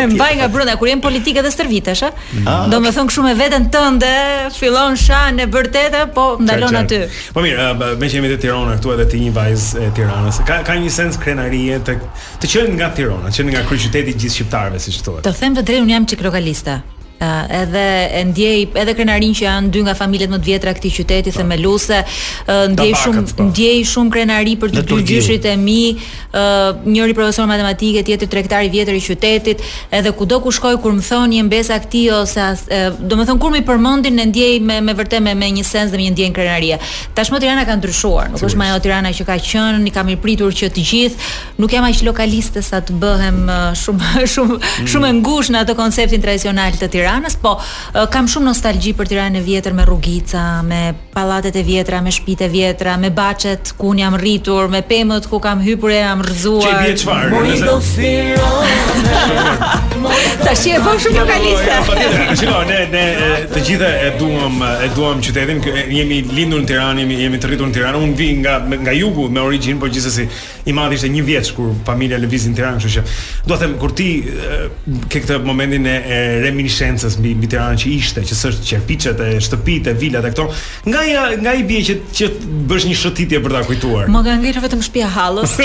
Speaker 8: e mbaj nga brenda kur jem politike dhe stërvitesh, ë. Do më thon kështu me veten tënde, fillon shan e vërtetë, po ndalon
Speaker 6: Qartë,
Speaker 8: aty.
Speaker 6: qartë. Po mirë, eh, me që jemi te Tirana këtu edhe ti një vajzë e Tiranës. Ka ka një sens krenarie të të qenë nga Tirana, të qenë nga kryeqyteti i gjithë shqiptarëve, siç thuhet.
Speaker 8: Të them të drejtë, unë jam çik lokaliste. Uh, edhe e ndjej edhe krenarin që janë dy nga familjet më të vjetra këtij qyteti themeluse, uh, ndjej
Speaker 6: Tabakët,
Speaker 8: shumë
Speaker 6: po.
Speaker 8: ndjej shumë krenari për
Speaker 2: Dhe
Speaker 8: të dy
Speaker 2: Turqiu.
Speaker 8: gjyshrit e mi, uh, njëri profesor matematike, tjetri tregtar i vjetër i qytetit, edhe kudo ku shkoj kur më thonë je mbesa këtij ose as- e, do të thon kur më i përmendin e ndjej me me vërtet me, me një sens dhe me një ndjenjë krenarie. Tashmë Tirana ka ndryshuar, nuk është më ajo Tirana që ka qenë, i kam i pritur që të gjithë, nuk jam aq lokaliste sa të bëhem uh, shumë shumë shumë e ngushtë në atë konceptin tradicional të Tiranës, po uh, kam shumë nostalgji për Tiranën e vjetër me rrugica, me pallatet e vjetra, me shtëpitë e vjetra, me baçet ku unë jam rritur, me pemët ku kam hyrë e jam
Speaker 6: Çe bie
Speaker 8: rrëzuar.
Speaker 6: çfarë? nëse-
Speaker 8: Tash je vë shumë lokaliste.
Speaker 6: Ja, patjetër. Shiko, ne ne e, të gjithë e duam e duam qytetin. Kë- Jemi lindur në Tiranë, jemi, jemi të rritur në Tiranë. Unë vi nga nga jugu me origjinë, por gjithsesi i madh ishte një vjeç kur familja lëvizi në Tiranë, kështu që do të them kur ti e, ke këtë momentin e, e reminiscencës esencës mbi mbi Tiranë që ishte, që s'është qerpiçet e shtëpitë, e vilat e këto, nga ja, nga i bie që që të bësh një shëtitje për ta kujtuar.
Speaker 8: Më ka ngritur vetëm shtëpia hallës.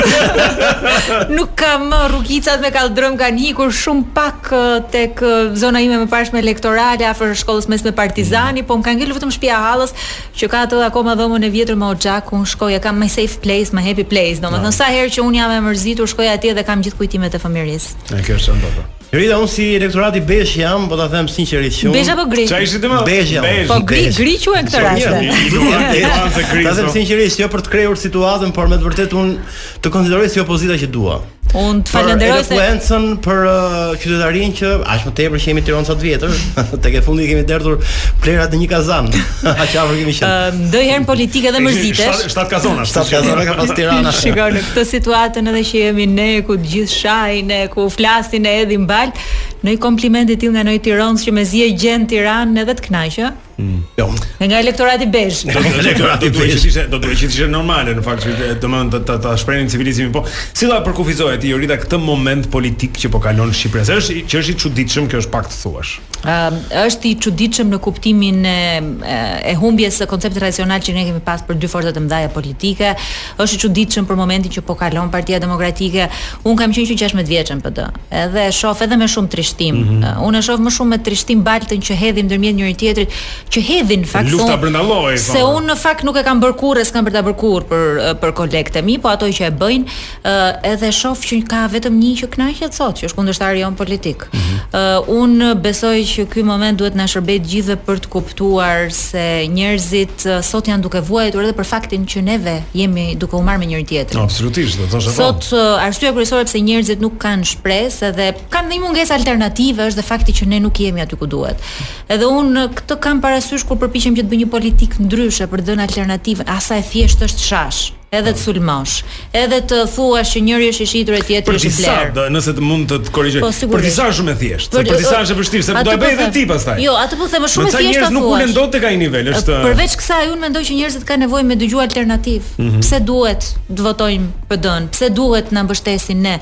Speaker 8: Nuk ka më rrugicat me kaldrëm kanë hikur shumë pak ë, tek ë, zona ime më parshme elektorale afër shkollës mesme Partizani, po më ka ngelur vetëm shtëpia hallës që ka atë akoma dhomën e vjetër me Oxhak, unë shkoja kam my safe place, my happy place, domethënë sa herë që unë jam e mërzitur shkoja atje dhe kam gjithë kujtimet e fëmijërisë.
Speaker 6: E kjo është çfarë do.
Speaker 11: Rita, unë si elektorati besh jam, po ta them sinqerisht shumë.
Speaker 8: Besh apo po gri? Qa ishit ti më?
Speaker 11: Besh jam.
Speaker 8: Po gri,
Speaker 11: Besh.
Speaker 8: gri quhen këtë rast.
Speaker 11: Jo,
Speaker 8: e.
Speaker 6: ignorancë gri,
Speaker 11: Ta them
Speaker 6: so.
Speaker 11: sinqerisht, jo për të krejur situatën, por me të vërtetë unë të konsideroj si opozita që dua.
Speaker 8: Unë të falenderoj
Speaker 11: Për
Speaker 8: se
Speaker 11: elokuencën, për uh, qytetarinë që aq më tepër që jemi Tiranë sa të vjetër, tek e fundi kemi derdhur plerat në një kazan. Aq afër kemi qenë.
Speaker 8: ë, ndoj herën politike dhe mërzitesh.
Speaker 6: 7 kazona,
Speaker 11: Shtat kazana ka pas Tirana.
Speaker 8: Shikoj në këtë situatën edhe që jemi ne ku të gjithë shajin e ku flasin e hedhin bal, në i kompliment i tillë nga noi Tiranës që mezi e gjen Tiranën edhe të kënaqë,
Speaker 11: Jo.
Speaker 8: ë? nga elektorati bezh.
Speaker 6: Elektorati do duhet që ishte do duhet që ishte normale në fakt që domethënë ta ta shprehin civilizmin po si do ta përkufizohet ti Jorita këtë moment politik që po kalon Shqipëria Se është që është i çuditshëm kjo është pak të thuash
Speaker 8: Ëm, është i çuditshëm në kuptimin e, e humbjes së konceptit racional që ne kemi pas për dy forca të mëdha politike. Është i çuditshëm për momentin që po kalon Partia Demokratike. Unë kam qenë që 16 vjeçën PD. Edhe e shoh edhe me shumë trishtim. Ë, Unë e shoh më shumë me trishtim baltën që hedhin ndërmjet njëri tjetrit, që hedhin në fakt se
Speaker 6: Lufta
Speaker 8: unë-
Speaker 6: brenda llojeve,
Speaker 8: Se
Speaker 6: po.
Speaker 8: unë në fakt nuk e kam bërë kurrë, s'kam për ta bërë kurrë për për kolegët e mi, po ato që e bëjnë, ë, edhe shoh që ka vetëm një që kënaqet sot, që është kundërshtari jon politik. Ë unë besoj që ky moment duhet na shërbej të gjithëve për të kuptuar se njerëzit ë, sot janë duke vuajtur edhe për faktin që neve jemi duke u marrë me njëri tjetrin.
Speaker 6: absolutisht do të po. thosh
Speaker 8: Sot ë, arsyeja kryesore pse njerëzit nuk kanë shpresë edhe kanë dhe një mungesë alternative është dhe fakti që ne nuk jemi aty ku duhet. Edhe unë ë, këtë kam parasysh kur përpiqem që të bëj një politikë ndryshe për të dhënë alternativën, asa e thjesht është shash edhe të sulmosh, edhe të thuash që njëri është i shitur e
Speaker 6: Për
Speaker 8: tjetri është i
Speaker 6: disa,
Speaker 8: blerë.
Speaker 6: do- nëse të mund të të korrigjoj.
Speaker 8: Po,
Speaker 6: për
Speaker 8: sigurisht.
Speaker 6: disa është shumë e thjeshtë, se për disa është e vështirë, se
Speaker 8: atë
Speaker 6: do e
Speaker 8: po
Speaker 6: bëj edhe
Speaker 8: them.
Speaker 6: ti pastaj.
Speaker 8: Jo, atë po them, është shumë e
Speaker 6: Meca
Speaker 8: thjeshtë.
Speaker 6: njerëz
Speaker 8: ta
Speaker 6: nuk ulen
Speaker 8: thuash.
Speaker 6: dot tek ai nivel, është
Speaker 8: Përveç kësaj unë mendoj që njerëzit kanë nevojë me dëgju alternativë. Pse duhet të votojmë PD-n? Pse duhet na mbështesin ne?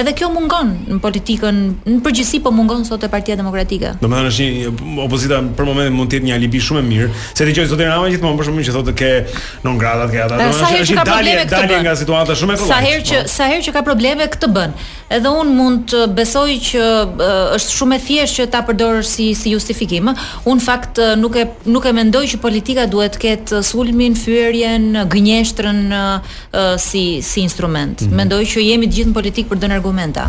Speaker 8: Edhe kjo mungon në politikën, në përgjithësi po mungon sot e Partia Demokratike.
Speaker 6: Domethënë është një opozita për momentin mund të jetë një alibi shumë e mirë, se dëgjoj zotin Rama gjithmonë për shkakun që thotë ke non gradat, ke ata.
Speaker 8: Dhe
Speaker 6: Domethënë
Speaker 8: sa herë që
Speaker 6: është
Speaker 8: ka
Speaker 6: një dalje
Speaker 8: probleme këtë
Speaker 6: dalje
Speaker 8: bën.
Speaker 6: nga situata shumë e kollajt.
Speaker 8: Sa herë që sa herë që ka probleme këtë bën. Edhe un mund të besoj që ë, është shumë e thjeshtë që ta përdorësh si si justifikim. Un në fakt ë, nuk e nuk e mendoj që politika duhet të ketë sulmin, fyerjen, gënjeshtrën ë, ë, si si instrument. Mendoj që jemi të gjithë në politikë për të dhënë argumenta.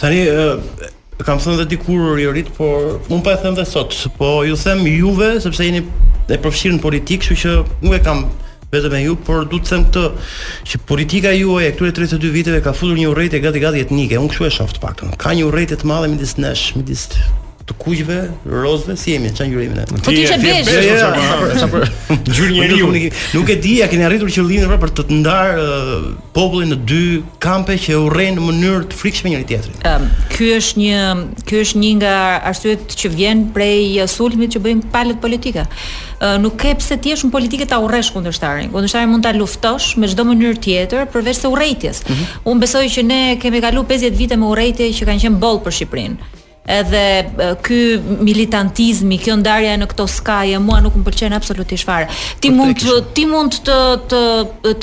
Speaker 11: Tani ë, kam thënë dhe dikur Jorit, por unë pa e them dhe sot, po ju them juve sepse jeni e përfshirë në politikë, kështu që nuk e kam vetëm e ju, por du të them këtë që politika juaj e këtyre 32 viteve ka futur një urrëtie gati gati etnike. Unë kështu e shoh të paktën. Ka një urrëtie të madhe midis nesh, midis të kuqve, rozve, si jemi, çan gjurimin ne.
Speaker 8: Po ti ishe bezh.
Speaker 11: Jo, jo,
Speaker 6: jo,
Speaker 11: jo, sa për- sa për-
Speaker 6: Gjyrë njeriu.
Speaker 11: Nuk, nuk, nuk e di, a keni arritur qëllimin pra për të të ndarë ë, popullin në dy kampe që urrejnë në mënyrë të frikshme njëri tjetrin.
Speaker 8: Ëm, ky është një ky është një nga arsyet që vjen prej sulmit që bëjnë palët politike. Ë, nuk ke pse ti jesh në politike ta urresh kundërshtarin. Kundërshtarin mund ta luftosh me çdo mënyrë tjetër përveç se urrëties. Unë besoj që ne kemi kalu 50 vite me urrëtie që kanë qenë boll për Shqipërinë. Edhe ë, ky militantizmi, kjo ndarja në këto skaje mua nuk më pëlqen absolutisht fare. Ti mund të, ti mund të të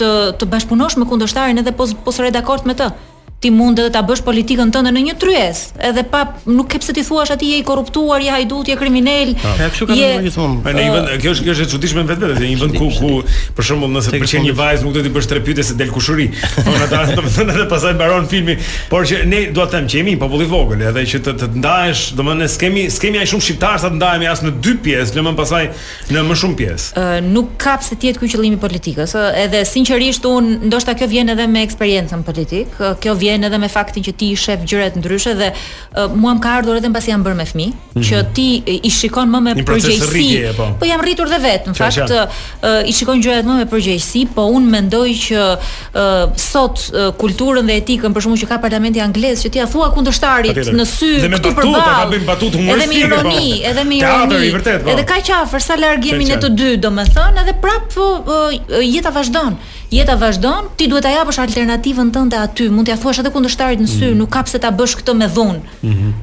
Speaker 8: të, të bashkëpunosh me kundërshtarin edhe pos pos redakord me të. Ti mund edhe ta bësh politikën tënde në një tryez, edhe pa nuk ke pse ti thuash aty je i korruptuar, je hajdut, je kriminal.
Speaker 11: Ja, kështu kanë bërë gjithmonë.
Speaker 6: Po në një vend, kjo është kjo është e çuditshme vetë vetë, në një vend ku ku për shembull nëse të pëlqen një vajzë nuk do t'i bësh tre pyetje se del kushuri. Po na ta domethënë edhe pastaj mbaron filmi, por që ne dua të them që jemi një popull i vogël, edhe që të, të ndahesh, domethënë s'kemi s'kemi ai shumë shqiptar sa të ndahemi as në dy pjesë, lëmën pasaj në më shumë pjesë.
Speaker 8: Ë, nuk ka pse të jetë ky qëllimi i politikës. ë, Edhe sinqerisht un ndoshta kjo vjen edhe me eksperiencën politik, ë, kjo vjen edhe me faktin që ti i shef gjëra të ndryshe dhe ë, mua më ka ardhur edhe mbasi jam bërë me fëmijë, që ti i- i shikon më me
Speaker 6: Mhm. Një proces rritjeje,
Speaker 8: përgjegjësi.
Speaker 6: po.
Speaker 8: Po jam rritur dhe vetë, në
Speaker 6: Qa,
Speaker 8: fakt
Speaker 6: qa.
Speaker 8: ë, i shikon gjërat më me përgjegjësi, po un mendoj që ë, sot ë, kulturën dhe etikën për shkakun që ka parlamenti anglez që ti ja thua kundërshtarit
Speaker 6: Patjetër.
Speaker 8: në sy
Speaker 6: Dhe me
Speaker 8: këtu
Speaker 6: batuta,
Speaker 8: përballë,
Speaker 6: ka bëjmë batutë
Speaker 8: Edhe me
Speaker 6: humoristike, po.
Speaker 8: ironi, edhe me
Speaker 6: Teatri,
Speaker 8: ironi.
Speaker 6: i vërtet, po.
Speaker 8: Edhe ka kaq afër sa larg jemi
Speaker 6: Qe,
Speaker 8: ne
Speaker 6: qe.
Speaker 8: të dy, domethënë, edhe prap po, ë, ë, jeta vazhdon. Jeta vazhdon, ti duhet ta japësh alternativën tënde aty, mund t'ia thuash thash edhe kundërshtarit në
Speaker 11: Mhm.
Speaker 8: sy, nuk ka pse ta bësh këtë me dhunë.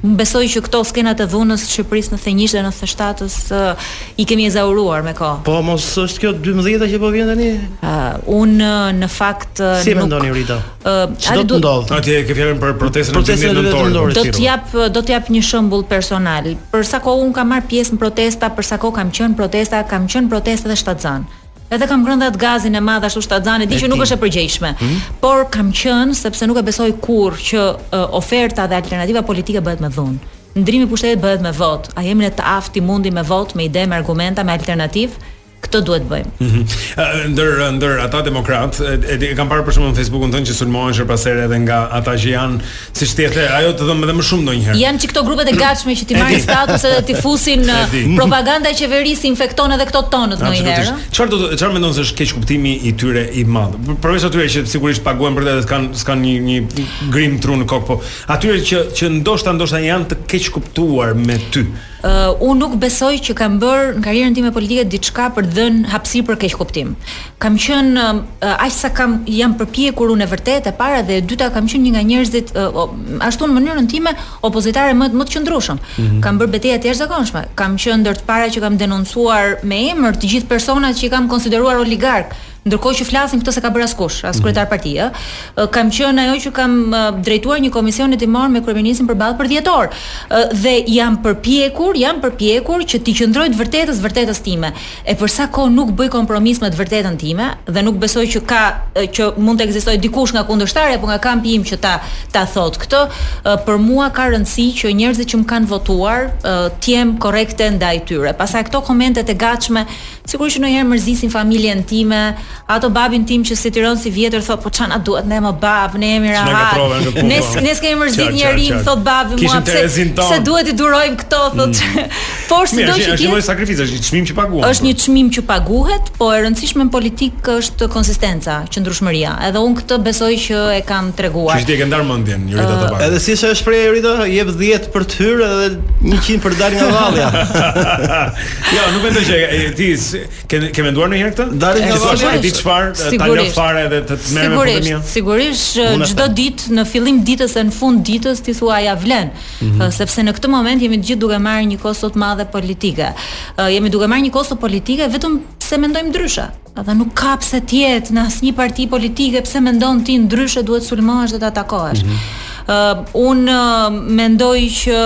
Speaker 8: Unë besoj që këto skenat e dhunës të Shqipërisë në 91 dhe 97-s uh, i kemi ezauruar me kohë.
Speaker 11: Po mos është kjo 12-a që po vjen tani?
Speaker 8: Uh, unë uh, në fakt uh,
Speaker 11: Si e mendoni Rita?
Speaker 8: Uh,
Speaker 11: Ç'do të ndodh?
Speaker 6: Atje ke fjalën për protestën e 12 nëntorit.
Speaker 8: Do t'jap
Speaker 6: po.
Speaker 8: do t'jap një shembull personal. Për sa kohë un kam marr pjesë në protesta, për sa kohë kam qenë protesta, kam qenë protesta dhe shtatzan. Edhe kam grënë atë gazin e madh ashtu shtatzan, e di
Speaker 12: E
Speaker 8: që nuk
Speaker 12: ti.
Speaker 8: është e përgjegjshme.
Speaker 12: Mhm.
Speaker 6: Hmm?
Speaker 8: Por kam qenë sepse nuk e besoj kurrë që uh, oferta dhe alternativa politike bëhet me dhunë. Ndrimi i pushtetit bëhet me votë. A jemi ne të aftë i mundi me votë, me ide, me argumenta, me alternativë? Këtë duhet bëjmë.
Speaker 6: Mhm. Ë, Ndër ndër ata demokrat, e, e, di- e kam parë për shkakun në Facebookun tonë që sulmohen her pas here edhe nga ata që janë, siç ti e the, ajo të dhëmë edhe më shumë ndonjëherë.
Speaker 8: Janë që këto grupet e gatshme që ti
Speaker 6: E di.
Speaker 8: marrin status edhe ti fusin
Speaker 6: E di.
Speaker 8: uh, propaganda e qeverisë infekton edhe këto tonët ndonjëherë.
Speaker 6: Absolutisht. Çfarë do të- çfarë mendon se është keq kuptimi i tyre i madh? Për- Përveç atyre që sigurisht paguhen për të dhe kanë s'kan një një grim tru në kokë, po atyre që që ndoshta ndoshta janë të keq kuptuar me ty.
Speaker 8: Uh, unë nuk besoj që kam bërë në karrierën time politike diçka për të dhënë hapësirë për keq kuptim. Kam qenë uh, aq sa kam jam përpjekur unë e vërtetë e para dhe e dyta kam qenë një nga njerëzit uh, o- ashtu në mënyrën time opozitare më më të qëndrueshëm.
Speaker 12: Mhm.
Speaker 8: Kam bërë betejë të jashtëzakonshme. Kam qenë ndër të para që kam denoncuar me emër të gjithë personat që i kam konsideruar oligark ndërkohë që flasim këtë se ka bërë askush, as kryetar partie, ë, Ë, kam qenë ajo që kam ë, drejtuar një komision hetimor me kryeministin përballë për 10 orë Ë, dhe jam përpjekur, jam përpjekur që ti qëndroj të vërtetës vërtetës time. E për sa kohë nuk bëj kompromis me të vërtetën time dhe nuk besoj që ka ë, që mund të ekzistojë dikush nga kundërshtarja apo nga kampi im që ta ta thot këtë, ë, për mua ka rëndësi që njerëzit që më kanë votuar ë, të jem korrekte ndaj tyre. Pastaj këto komentet e gatshme Sigurisht që ndonjëherë mërzisin familjen time, ato babin tim që si tiron si vjetër thot po çana duhet ne më bab, ne jemi
Speaker 12: Ç'na
Speaker 8: rahat.
Speaker 12: gatrove në punë,
Speaker 8: Ne
Speaker 12: po.
Speaker 8: ne s'kemë mërzit
Speaker 12: Qartë,
Speaker 8: njerim,
Speaker 12: qartë, qartë.
Speaker 8: thot babi mua
Speaker 6: Kishim
Speaker 8: pse
Speaker 6: Terezin tonë. Mm.
Speaker 8: se duhet i durojmë këto thot. Por
Speaker 6: Mirë,
Speaker 8: sido
Speaker 6: është
Speaker 8: që
Speaker 6: është një lloj sakrifice, është një çmim që po. paguhen.
Speaker 8: është një çmim që paguhet, po e rëndësishme në politikë është konsistenca, qëndrueshmëria. Edhe unë këtë besoj që e kam treguar.
Speaker 6: Që ti e ke ndar mendjen, Jurita
Speaker 8: Ah,
Speaker 6: Tabak.
Speaker 11: Edhe si se është shprehja Rita, jep 10 për të hyrë edhe 100 për të dalë nga vallja.
Speaker 6: jo, nuk mendoj që e, ti s- ke ke menduar ndonjëherë këtë?
Speaker 11: Dalin nga
Speaker 6: Që thua,
Speaker 11: vallja.
Speaker 6: "E di çfarë, ta lë
Speaker 8: Sigurisht.
Speaker 6: fare edhe të të merrem me punën
Speaker 8: Sigurisht, sigurisht eh,
Speaker 6: Unë e
Speaker 8: çdo ditë në fillim ditës e në fund ditës ti thua ja vlen,
Speaker 6: Mhm.
Speaker 8: Eh, sepse në këtë moment jemi të gjithë duke marrë një kosto të madhe politike. Eh, Jemi duke marrë një kosto politike vetëm se mendojmë ndryshe. Edhe nuk ka pse të jetë në asnjë parti politike pse mendon ti ndryshe duhet sulmohesh dhe të atakohesh.
Speaker 6: Mhm.
Speaker 8: Uh, unë uh, mendoj që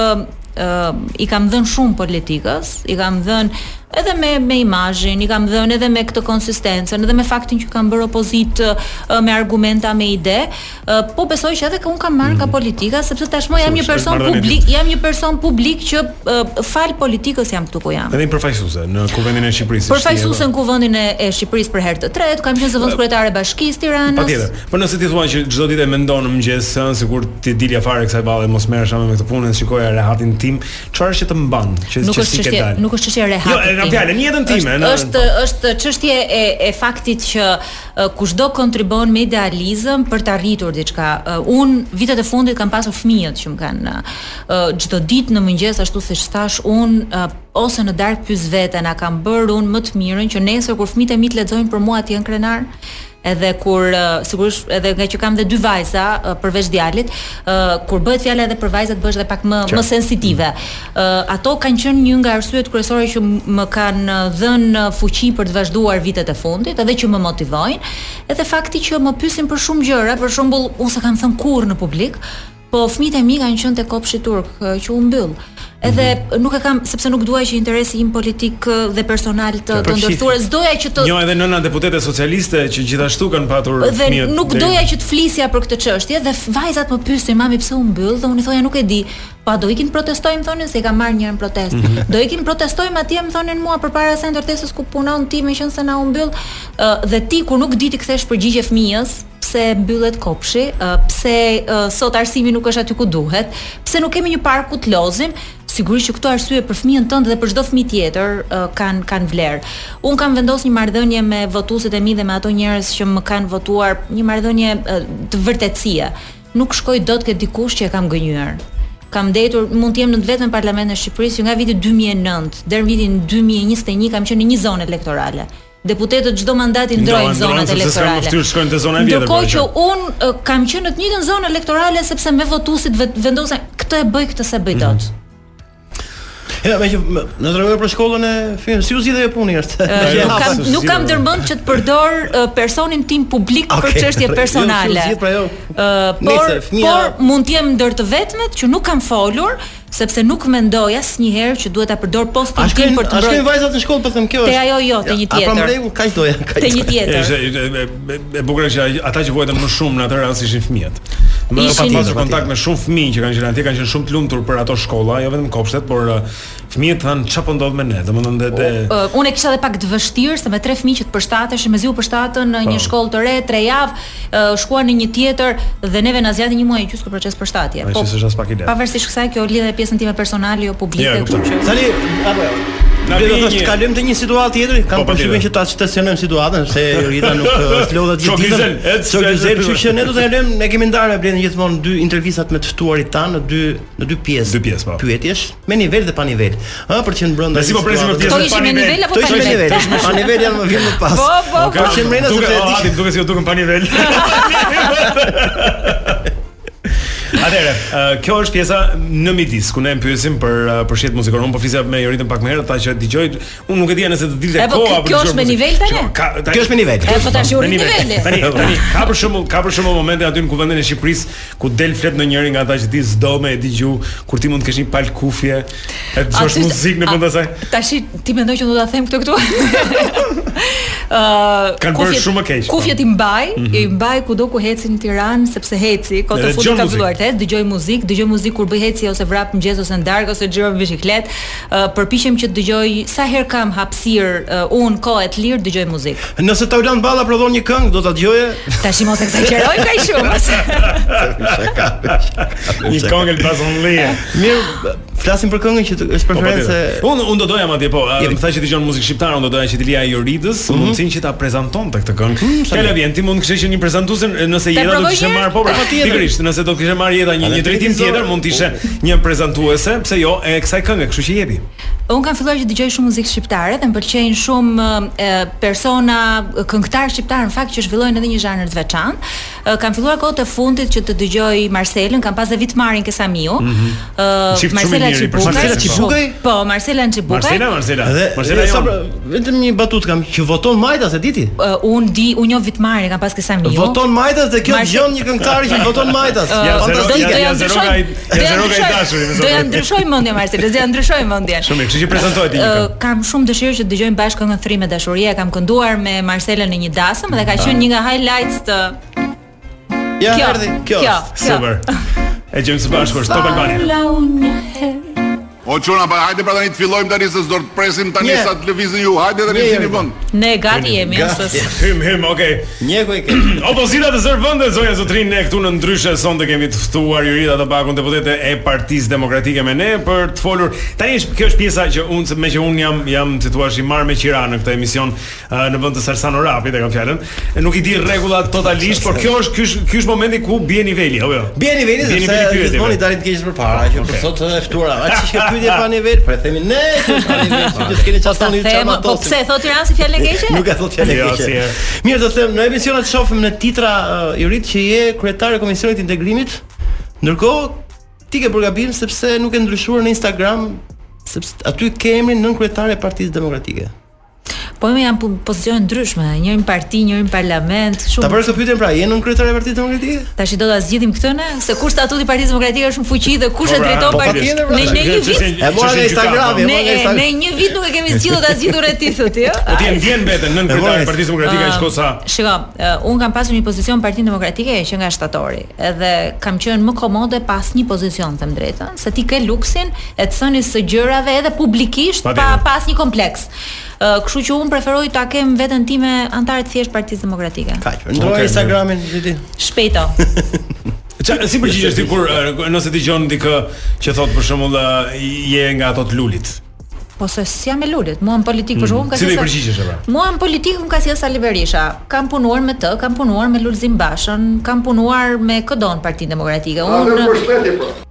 Speaker 8: uh, i kam dhënë shumë politikës, i kam dhënë edhe me me imazhin, i kam dhënë edhe me këtë konsistencën, edhe me faktin që kam bërë opozitë uh, me argumenta, me ide, uh, po besoj që edhe un kam marrë nga politika sepse tashmë jam një
Speaker 6: Sigurisht,
Speaker 8: person
Speaker 6: Mhm. është marrëdhënie
Speaker 8: publik, jam një person publik që uh, fal politikës jam këtu ku jam.
Speaker 6: Edhe një përfaqësuese në kuvendin e Shqipërisë.
Speaker 8: Përfaqësuese në kuvendin e, e Shqipërisë për herë të tretë, kam qenë zëvendës kryetare e Bashkisë Tiranës.
Speaker 6: Po, Patjetër. Po nëse ti thua që çdo ditë e mendon në mëngjes, ëh, sikur ti dilja fare kësaj valle mos merresha me këtë punë, shikoja rehatin tim, çfarë është që të mban, që
Speaker 8: Nuk
Speaker 6: që
Speaker 8: është
Speaker 6: si ke
Speaker 8: çështje,
Speaker 6: dalë?
Speaker 8: nuk është çështje e rehatit.
Speaker 6: Jo, e kam
Speaker 8: tim.
Speaker 6: fjalën, në jetën time, në-
Speaker 8: Është është është çështje e e faktit që ë, kushdo kontribon me idealizëm për të arritur diçka. Ë, Unë vitet e fundit kam pasur fëmijët që më kanë ë, çdo ditë në mëngjes ashtu siç thash, unë ë, ose në darkë pyes veten, a kam bërë unë më të mirën që nesër kur fëmijët e mi të lexojnë për mua ti janë krenar? edhe kur uh, sigurisht edhe nga që kam dhe dy vajza uh, përveç djalit, uh, kur bëhet fjala edhe për vajzat bëhesh edhe pak më
Speaker 12: Qartë.
Speaker 8: më sensitive. Uh, ato kanë qenë një nga arsyet kryesore që m- më kanë uh, dhënë uh, fuqi për të vazhduar vitet e fundit, edhe që më motivojnë, edhe fakti që më pyesin për shumë gjëra, për shembull, unë s'e kam thënë kurrë në publik, po fëmijët e mi kanë qenë te kopshi turk uh, që u mbyll. Edhe nuk e kam sepse nuk duaj që interesi im politik uh, dhe personal të, të
Speaker 6: përfshi-
Speaker 8: ndërthuar, s'doja që të
Speaker 6: Jo, edhe nëna deputete socialiste që gjithashtu kanë patur
Speaker 8: dhe
Speaker 6: fëmijët.
Speaker 8: nuk
Speaker 6: deri-
Speaker 8: doja që të flisja për këtë çështje dhe f- vajzat më pyesin mami pse u mbyll dhe unë i thoja nuk e di. Pa do ikin protestojmë thonin se i ka marrë njërin protest.
Speaker 12: Mhm.
Speaker 8: do ikin protestojmë atje më thonin mua përpara se ndërtesës ku punon ti me qenë se na u mbyll Ë, dhe ti kur nuk di ti kthesh përgjigje fëmijës pse mbyllet kopshi, ë, pse ë, sot arsimi nuk është aty ku duhet, pse nuk kemi një park ku të lozim, sigurisht që këto arsye për fëmijën tënd dhe për çdo fëmijë tjetër ë, kanë kanë vlerë. Un kam vendosur një marrëdhënie me votuesit e mi dhe me ato njerëz që më kanë votuar, një marrëdhënie ë, të vërtetësie. Nuk shkoj dot ke dikush që e kam gënjur. Kam ndetur, mund të jem në të vetën parlament në Shqipëri që nga viti 2009 deri në vitin 2021 kam qenë në një zonë elektorale. deputetët çdo mandati ndrojnë
Speaker 6: Ndrojnë,
Speaker 8: zonat
Speaker 6: ndrojnë, sepse s'kan
Speaker 8: elektorale.
Speaker 6: mëftyrë, shkojnë te zona e vjetër, po, pra,
Speaker 8: Ndërkohë
Speaker 6: për
Speaker 8: që
Speaker 6: gjë.
Speaker 8: un kam qenë në të njëjtën zonë elektorale sepse me votuesit vet- vendosen këtë e bëj, këtë s'e
Speaker 6: Mhm.
Speaker 8: bëj dot.
Speaker 2: Ja, me që me- në tregove për shkollën e filmit, si u zgjidhje puni është.
Speaker 8: Ë, Nuk kam nuk kam dërmend që të përdor ë, personin tim publik për
Speaker 2: Okej,
Speaker 8: çështje
Speaker 2: pra- jo,
Speaker 8: personale.
Speaker 2: si u zgjidh, pra, jo.
Speaker 8: Ë, por
Speaker 2: Nice, fëmia-
Speaker 8: por mund të jem ndër të vetmet që nuk kam folur sepse nuk mendoj asnjëherë që duhet ta përdor
Speaker 2: A
Speaker 8: postin tim
Speaker 2: shkojnë
Speaker 8: për të
Speaker 2: a shkojnë vajzat në shkollë po them kjo
Speaker 8: Te
Speaker 2: është.
Speaker 8: ajo jo, te një
Speaker 2: A pra
Speaker 8: tjetër.
Speaker 2: më rregull, kaq doja, kaq.
Speaker 8: Te një
Speaker 2: doja.
Speaker 8: tjetër.
Speaker 6: Ishte e, e, e bukur është që ata që vuajtën më shumë në atë rast ishin fëmijët. Më
Speaker 8: Ishin-
Speaker 6: ka pasur
Speaker 8: patjetër.
Speaker 6: kontakt me shumë fëmijë që kanë qenë atje, kanë qenë shumë të lumtur për ato shkolla, jo vetëm kopshtet, por uh, fëmijët thanë çfarë po ndodh me ne, domethënë dhe dhe
Speaker 8: Uh, unë e kisha edhe pak të vështirë se me tre fëmijë që të përshtateshin, mezi u përshtatën në një
Speaker 6: Po.
Speaker 8: shkollë të re, tre javë, uh, shkuan në një tjetër dhe neve na zgjati një muaj e gjysmë për proces përshtatje.
Speaker 2: Po,
Speaker 8: Po,
Speaker 6: Ai që s'është as pak i lehtë.
Speaker 8: Pavarësisht kësaj kjo lidhet me pjesën time personale jo publike,
Speaker 6: Ja, e kuptoj.
Speaker 2: Tani apo jo.
Speaker 6: Na
Speaker 2: Ne do
Speaker 6: vi
Speaker 2: të thosh
Speaker 6: një-
Speaker 2: kalojmë te një situatë tjetër, kam
Speaker 6: Po, po,
Speaker 2: përshtypjen
Speaker 6: tjetër.
Speaker 2: që ta stacionojmë situatën sepse Jorita nuk ë, flodha gjithë
Speaker 6: Shok
Speaker 2: ditën.
Speaker 6: Gizel, ec,
Speaker 2: Shok
Speaker 6: ec,
Speaker 2: Gizel,
Speaker 6: ec.
Speaker 2: kështu që ne do të kalojmë, ne kemi ndarë me Blendi gjithmonë dy intervistat me të ftuarit tan në dy në dy pjesë. Dy
Speaker 6: pjesë, po.
Speaker 2: Pyetjesh me nivel dhe pa nivel. Ë, për të qenë brenda.
Speaker 6: Dhe si po presim për pjesën
Speaker 8: Kto ishin me nivel apo
Speaker 2: Kto
Speaker 8: pa
Speaker 2: ishin me nivel?
Speaker 8: nivel?
Speaker 2: Pa nivel janë më vjen më pas.
Speaker 8: Po, po,
Speaker 2: Nuk
Speaker 8: po.
Speaker 2: ka qenë mrena
Speaker 6: duke
Speaker 2: sepse e di-
Speaker 6: atit duke si u duken pa nivel. Atëre, uh, kjo është pjesa në midis ku ne mpyesim për uh, për shit muzikor. Unë po flisja me Joritën pak më herët, ta që dëgjoj, unë nuk e dija nëse të dilte
Speaker 8: E, po, kjo
Speaker 6: koha për të
Speaker 8: është
Speaker 6: dëgjuar
Speaker 8: me
Speaker 6: muzikë.
Speaker 8: nivel tani?
Speaker 6: Që, ka- tani-
Speaker 2: Kjo është me nivel.
Speaker 8: E, po, tash uri
Speaker 6: Me nivel.
Speaker 8: niveli.
Speaker 6: Tani, tani ka për shembull, ka për shembull momente aty në kuvendin e Shqipërisë ku del flet në njëri nga ata që ti s'do me e dëgju, kur ti mund të kesh një pal kufje, e dëgjosh
Speaker 8: Aty-
Speaker 6: muzikë në vend të saj.
Speaker 8: Tash ti mendoj që unë do ta them këtë këtu? Ë,
Speaker 6: Kanë bërë
Speaker 8: kufjet-
Speaker 6: shumë më keq, po.
Speaker 8: Kufjet i mbaj,
Speaker 6: Mhm.
Speaker 8: i mbaj kudo ku hecin në Tiranë, sepse heci, kot
Speaker 6: Edhe
Speaker 8: të fundit
Speaker 6: dëgjon
Speaker 8: ka
Speaker 6: muzikë.
Speaker 8: filluar të hec, dëgjoj muzikë, dëgjoj muzikë kur bëj heci ose vrap mëngjes ose në darkë ose xhiro me bicikletë, ë, përpiqem që të dëgjoj sa herë kam hapësirë uh, un kohë e të lirë dëgjoj muzikë.
Speaker 2: Nëse Taulan Balla prodhon një këngë, do ta dëgjoje.
Speaker 8: Tash mos eksagjeroj kaq shumë.
Speaker 6: Një këngë elbason leje.
Speaker 2: Mirë, flasim për këngën që të- është
Speaker 6: Po,
Speaker 2: preferencë.
Speaker 6: patjetër. unë unë do doja madje po, a, më tha që dëgjon muzikë shqiptare, unë do doja që ti lija Joridës, mundsinë që ta prezantonte këtë këngë.
Speaker 2: Mhm. Mm, sa
Speaker 6: Fjala
Speaker 2: mirë.
Speaker 6: vjen, ti mund të kishe që një prezantuese nëse
Speaker 8: Ta
Speaker 6: jeta do të
Speaker 8: provoj
Speaker 6: kishte
Speaker 8: një herë?
Speaker 6: marr po, pra,
Speaker 2: Po, patjetër.
Speaker 6: pikërisht, nëse do të kishte marr jeta
Speaker 2: Edhe
Speaker 6: një një drejtim
Speaker 2: drejtim
Speaker 6: tjetër,
Speaker 2: zor- Po.
Speaker 6: mund të ishte një prezantuese, pse jo, e kësaj këngë, kështu që jepi.
Speaker 8: Un kam filluar që dëgjoj shumë muzikë shqiptare dhe më pëlqejnë shumë e, persona e, këngëtar shqiptar në fakt që zhvillojnë edhe një zhanër të veçantë. E, Kam filluar kohët e fundit që të dëgjoj Marcelën, kam pas dhe Vitmarin Kesamiu. Ë
Speaker 6: Mhm. Çift shumë i
Speaker 8: Marcela
Speaker 6: miri, për
Speaker 8: Çibukaj.
Speaker 6: shkak se-
Speaker 2: Çibukaj?
Speaker 8: Po, Marcela Çibukaj.
Speaker 6: Marcela, Marcela.
Speaker 2: Edhe
Speaker 6: Marcela
Speaker 2: edhe sa
Speaker 6: jon.
Speaker 2: pra- vetëm një batut kam që voton Majtas e diti.
Speaker 8: Ë, un di, un njoh Vitmarin, kam pas Kesamiu.
Speaker 2: Voton Majtas dhe kjo
Speaker 8: Marse-
Speaker 2: dëgjon një këngëtar që voton Majtas.
Speaker 8: Ë,
Speaker 6: Ja, zero-
Speaker 8: do
Speaker 6: ja,
Speaker 8: do
Speaker 6: ja,
Speaker 8: ja
Speaker 6: zero
Speaker 8: ndryshoj.
Speaker 6: ka i- ja,
Speaker 8: do ja
Speaker 6: zero ka i
Speaker 8: ndryshoj-
Speaker 6: dashuri, më
Speaker 8: Do ja
Speaker 6: zotë.
Speaker 8: ndryshoj mendjen Marcelës, do ja ndryshoj mendjen.
Speaker 6: Shumë mirë, kështu që prezantohet një
Speaker 8: Ë,
Speaker 6: këngë.
Speaker 8: kam shumë dëshirë që të dëgjojmë bashkë këngën Thrimë e dashuria, e kam kënduar me Marcelën në një dasëm dhe ka qenë një nga highlights të
Speaker 2: Ja,
Speaker 8: kjo,
Speaker 2: erdhi. Kjo.
Speaker 8: kjo,
Speaker 2: është.
Speaker 8: kjo.
Speaker 6: Super. E gjejmë së bashku, Stop Albania.
Speaker 5: O çuna, pa hajde pra tani të fillojmë tani se s'do të presim tani
Speaker 2: Nje.
Speaker 5: sa të lëvizin ju. Hajde tani
Speaker 2: Nje,
Speaker 5: sini
Speaker 2: jemi.
Speaker 5: vend.
Speaker 8: Ne gati jemi
Speaker 2: Gati.
Speaker 8: ose
Speaker 6: Hym hym, okay.
Speaker 2: Njeku i ke.
Speaker 6: Opozita të zërë vënde, zonja zotrin, ne këtu në ndryshe sonte kemi të ftuar Jurita të bakun deputete e Partisë Demokratike me ne për të folur. Tani është- kjo është pjesa që unë me që unë jam jam si thua i marr me qira në këtë emision ë, në vend të Sarsan Orapit e kam fjalën. E Nuk i di rregullat totalisht, por kjo është ky është ky është momenti ku bie niveli, apo jo?
Speaker 2: Bie niveli sepse
Speaker 6: Bie niveli pyetjeve.
Speaker 2: gjithmonë i dalin të keqës përpara, që për
Speaker 6: Okay.
Speaker 2: sot e ftuara. A ç'i ke pyetje pa nivel? Po e themi ne, që është pa nivel, që të s'keni
Speaker 8: Po ta
Speaker 2: çfarë
Speaker 8: them, po pse thot Tirana si fjalë e keqe?
Speaker 2: Nuk e thot fjalë
Speaker 6: Jo, si
Speaker 2: keqe.
Speaker 6: e.
Speaker 2: Mirë, do të them, në emisionet shohim në titra uh, Irit që je kryetar e komisionit të integrimit. Ndërkohë ti ke bërë gabim sepse nuk e ndryshuar në Instagram sepse aty ke emrin nën kryetare e Partisë Demokratike.
Speaker 8: Po më janë pu- pozicione ndryshme, njërin parti, njërin parlament,
Speaker 2: Ta
Speaker 8: shumë
Speaker 2: bërë këtë pyetjen pra, je nën kryetare e Partisë Demokratike?
Speaker 8: Tash i do ta zgjidhim këtë ne, se kur statuti i Partisë Demokratike është në fuqi dhe kush e drejton
Speaker 2: po,
Speaker 8: partinë.
Speaker 2: patjetër, pra.
Speaker 8: Ne ne një
Speaker 6: Që- që-
Speaker 8: vit
Speaker 6: që-
Speaker 2: E mora
Speaker 6: që-
Speaker 2: nga
Speaker 6: që- që-
Speaker 2: Instagrami.
Speaker 8: Ne
Speaker 2: mora nga
Speaker 8: e-
Speaker 2: Instagram.
Speaker 8: ne një vit nuk e kemi zgjidhur ta zgjidhur e ti thotë, jo?
Speaker 6: Po ti e ndjen veten nën kryetare
Speaker 2: E,
Speaker 6: Partisë Demokratike aq
Speaker 8: Ë,
Speaker 6: kosa.
Speaker 8: Shiko, uh, un kam pasur një pozicion në Partinë Demokratike që nga shtatori, edhe kam qenë më komode pas një pozicion, them drejtën, se ti ke luksin e të thënies së gjërave edhe publikisht pa,
Speaker 6: Patjetër.
Speaker 8: pas një kompleks. Uh, kështu që un preferoj ta kem veten time antare të thjesht Partisë Demokratike.
Speaker 2: Kaq, ndroj
Speaker 6: Okej,
Speaker 2: Instagramin diti.
Speaker 8: Shpejto.
Speaker 6: Qa, si përgjigjesh ti kur ë, nëse dëgjon dikë që thot për shembull ë, je nga ato të lulit?
Speaker 8: Po se si jam e lulit, mua në politikë për shkakun ka
Speaker 6: Si do i
Speaker 8: qenë sa-
Speaker 6: përgjigjesh e pra?
Speaker 8: Mua në politikë më ka sjellë Sali Berisha. Kam punuar me të, kam punuar me Lulzim Bashën, kam punuar me Këdon Partinë Demokratike. Unë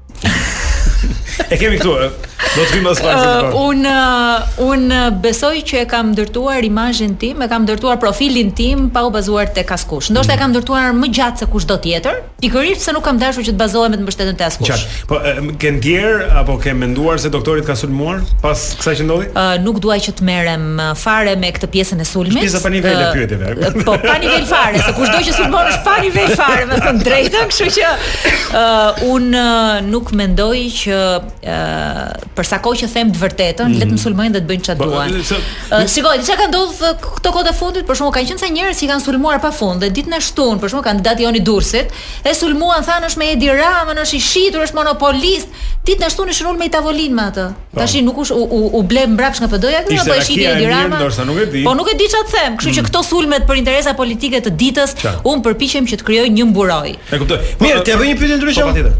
Speaker 6: E kemi këtu. ë. Do të vinë pas pak.
Speaker 8: Ë, un ë, un ë, besoj që e kam ndërtuar imazhin tim, e kam ndërtuar profilin tim pa u bazuar tek askush. Ndoshta
Speaker 6: Mm.
Speaker 8: e kam ndërtuar më gjatë se kushdo tjetër, pikërisht se nuk kam dashur që të bazohem me të mbështetjen të askush.
Speaker 6: Qartë. Po e, m- ke ndjer apo ke menduar se doktorit ka sulmuar pas kësaj që ndodhi?
Speaker 8: Ë, nuk duaj që të merrem ë, fare me këtë pjesën e sulmit.
Speaker 6: Është pjesa pa nivele,
Speaker 8: Ë,
Speaker 6: pyetjeve.
Speaker 8: ë, Po, pa nivel fare, se kushdo që sulmon është pa nivel fare, me thënë drejtën, kështu që ë, unë ë, nuk mendoj që ë, për sa kohë që them të vërtetën, le të më sulmojnë dhe të bëjnë çfarë
Speaker 6: Mhm. Po,
Speaker 8: duan.
Speaker 6: ë, se-
Speaker 8: Ë, Shikoj, diçka ka ndodhur uh, këto kohë të fundit, për shkak kanë qenë sa njerëz që kanë sulmuar pa fund dhe ditën e shtunë, për shkak kandidati Joni Durrësit, e sulmuan thanë është me Edi Ramën, është i shitur, është monopolist. Ditën e shtunë ishin ulur me i tavolinë me atë.
Speaker 6: Po.
Speaker 8: Tashi nuk u sh- u u, u ble mbrapsht nga PD-ja këtu
Speaker 6: Ishte
Speaker 8: apo po e shiti
Speaker 6: rakia e
Speaker 8: Edi
Speaker 6: mirë,
Speaker 8: Rama.
Speaker 6: ndoshta nuk e di. Mm.
Speaker 8: Po nuk e di çfarë të them, kështu që këto sulmet për interesa politike të ditës,
Speaker 6: Qartë.
Speaker 8: un përpiqem që të krijoj një mburoj.
Speaker 6: E kuptoj.
Speaker 11: Mirë, t'ja bëj një pyetje ndryshe.
Speaker 6: Po patjetër.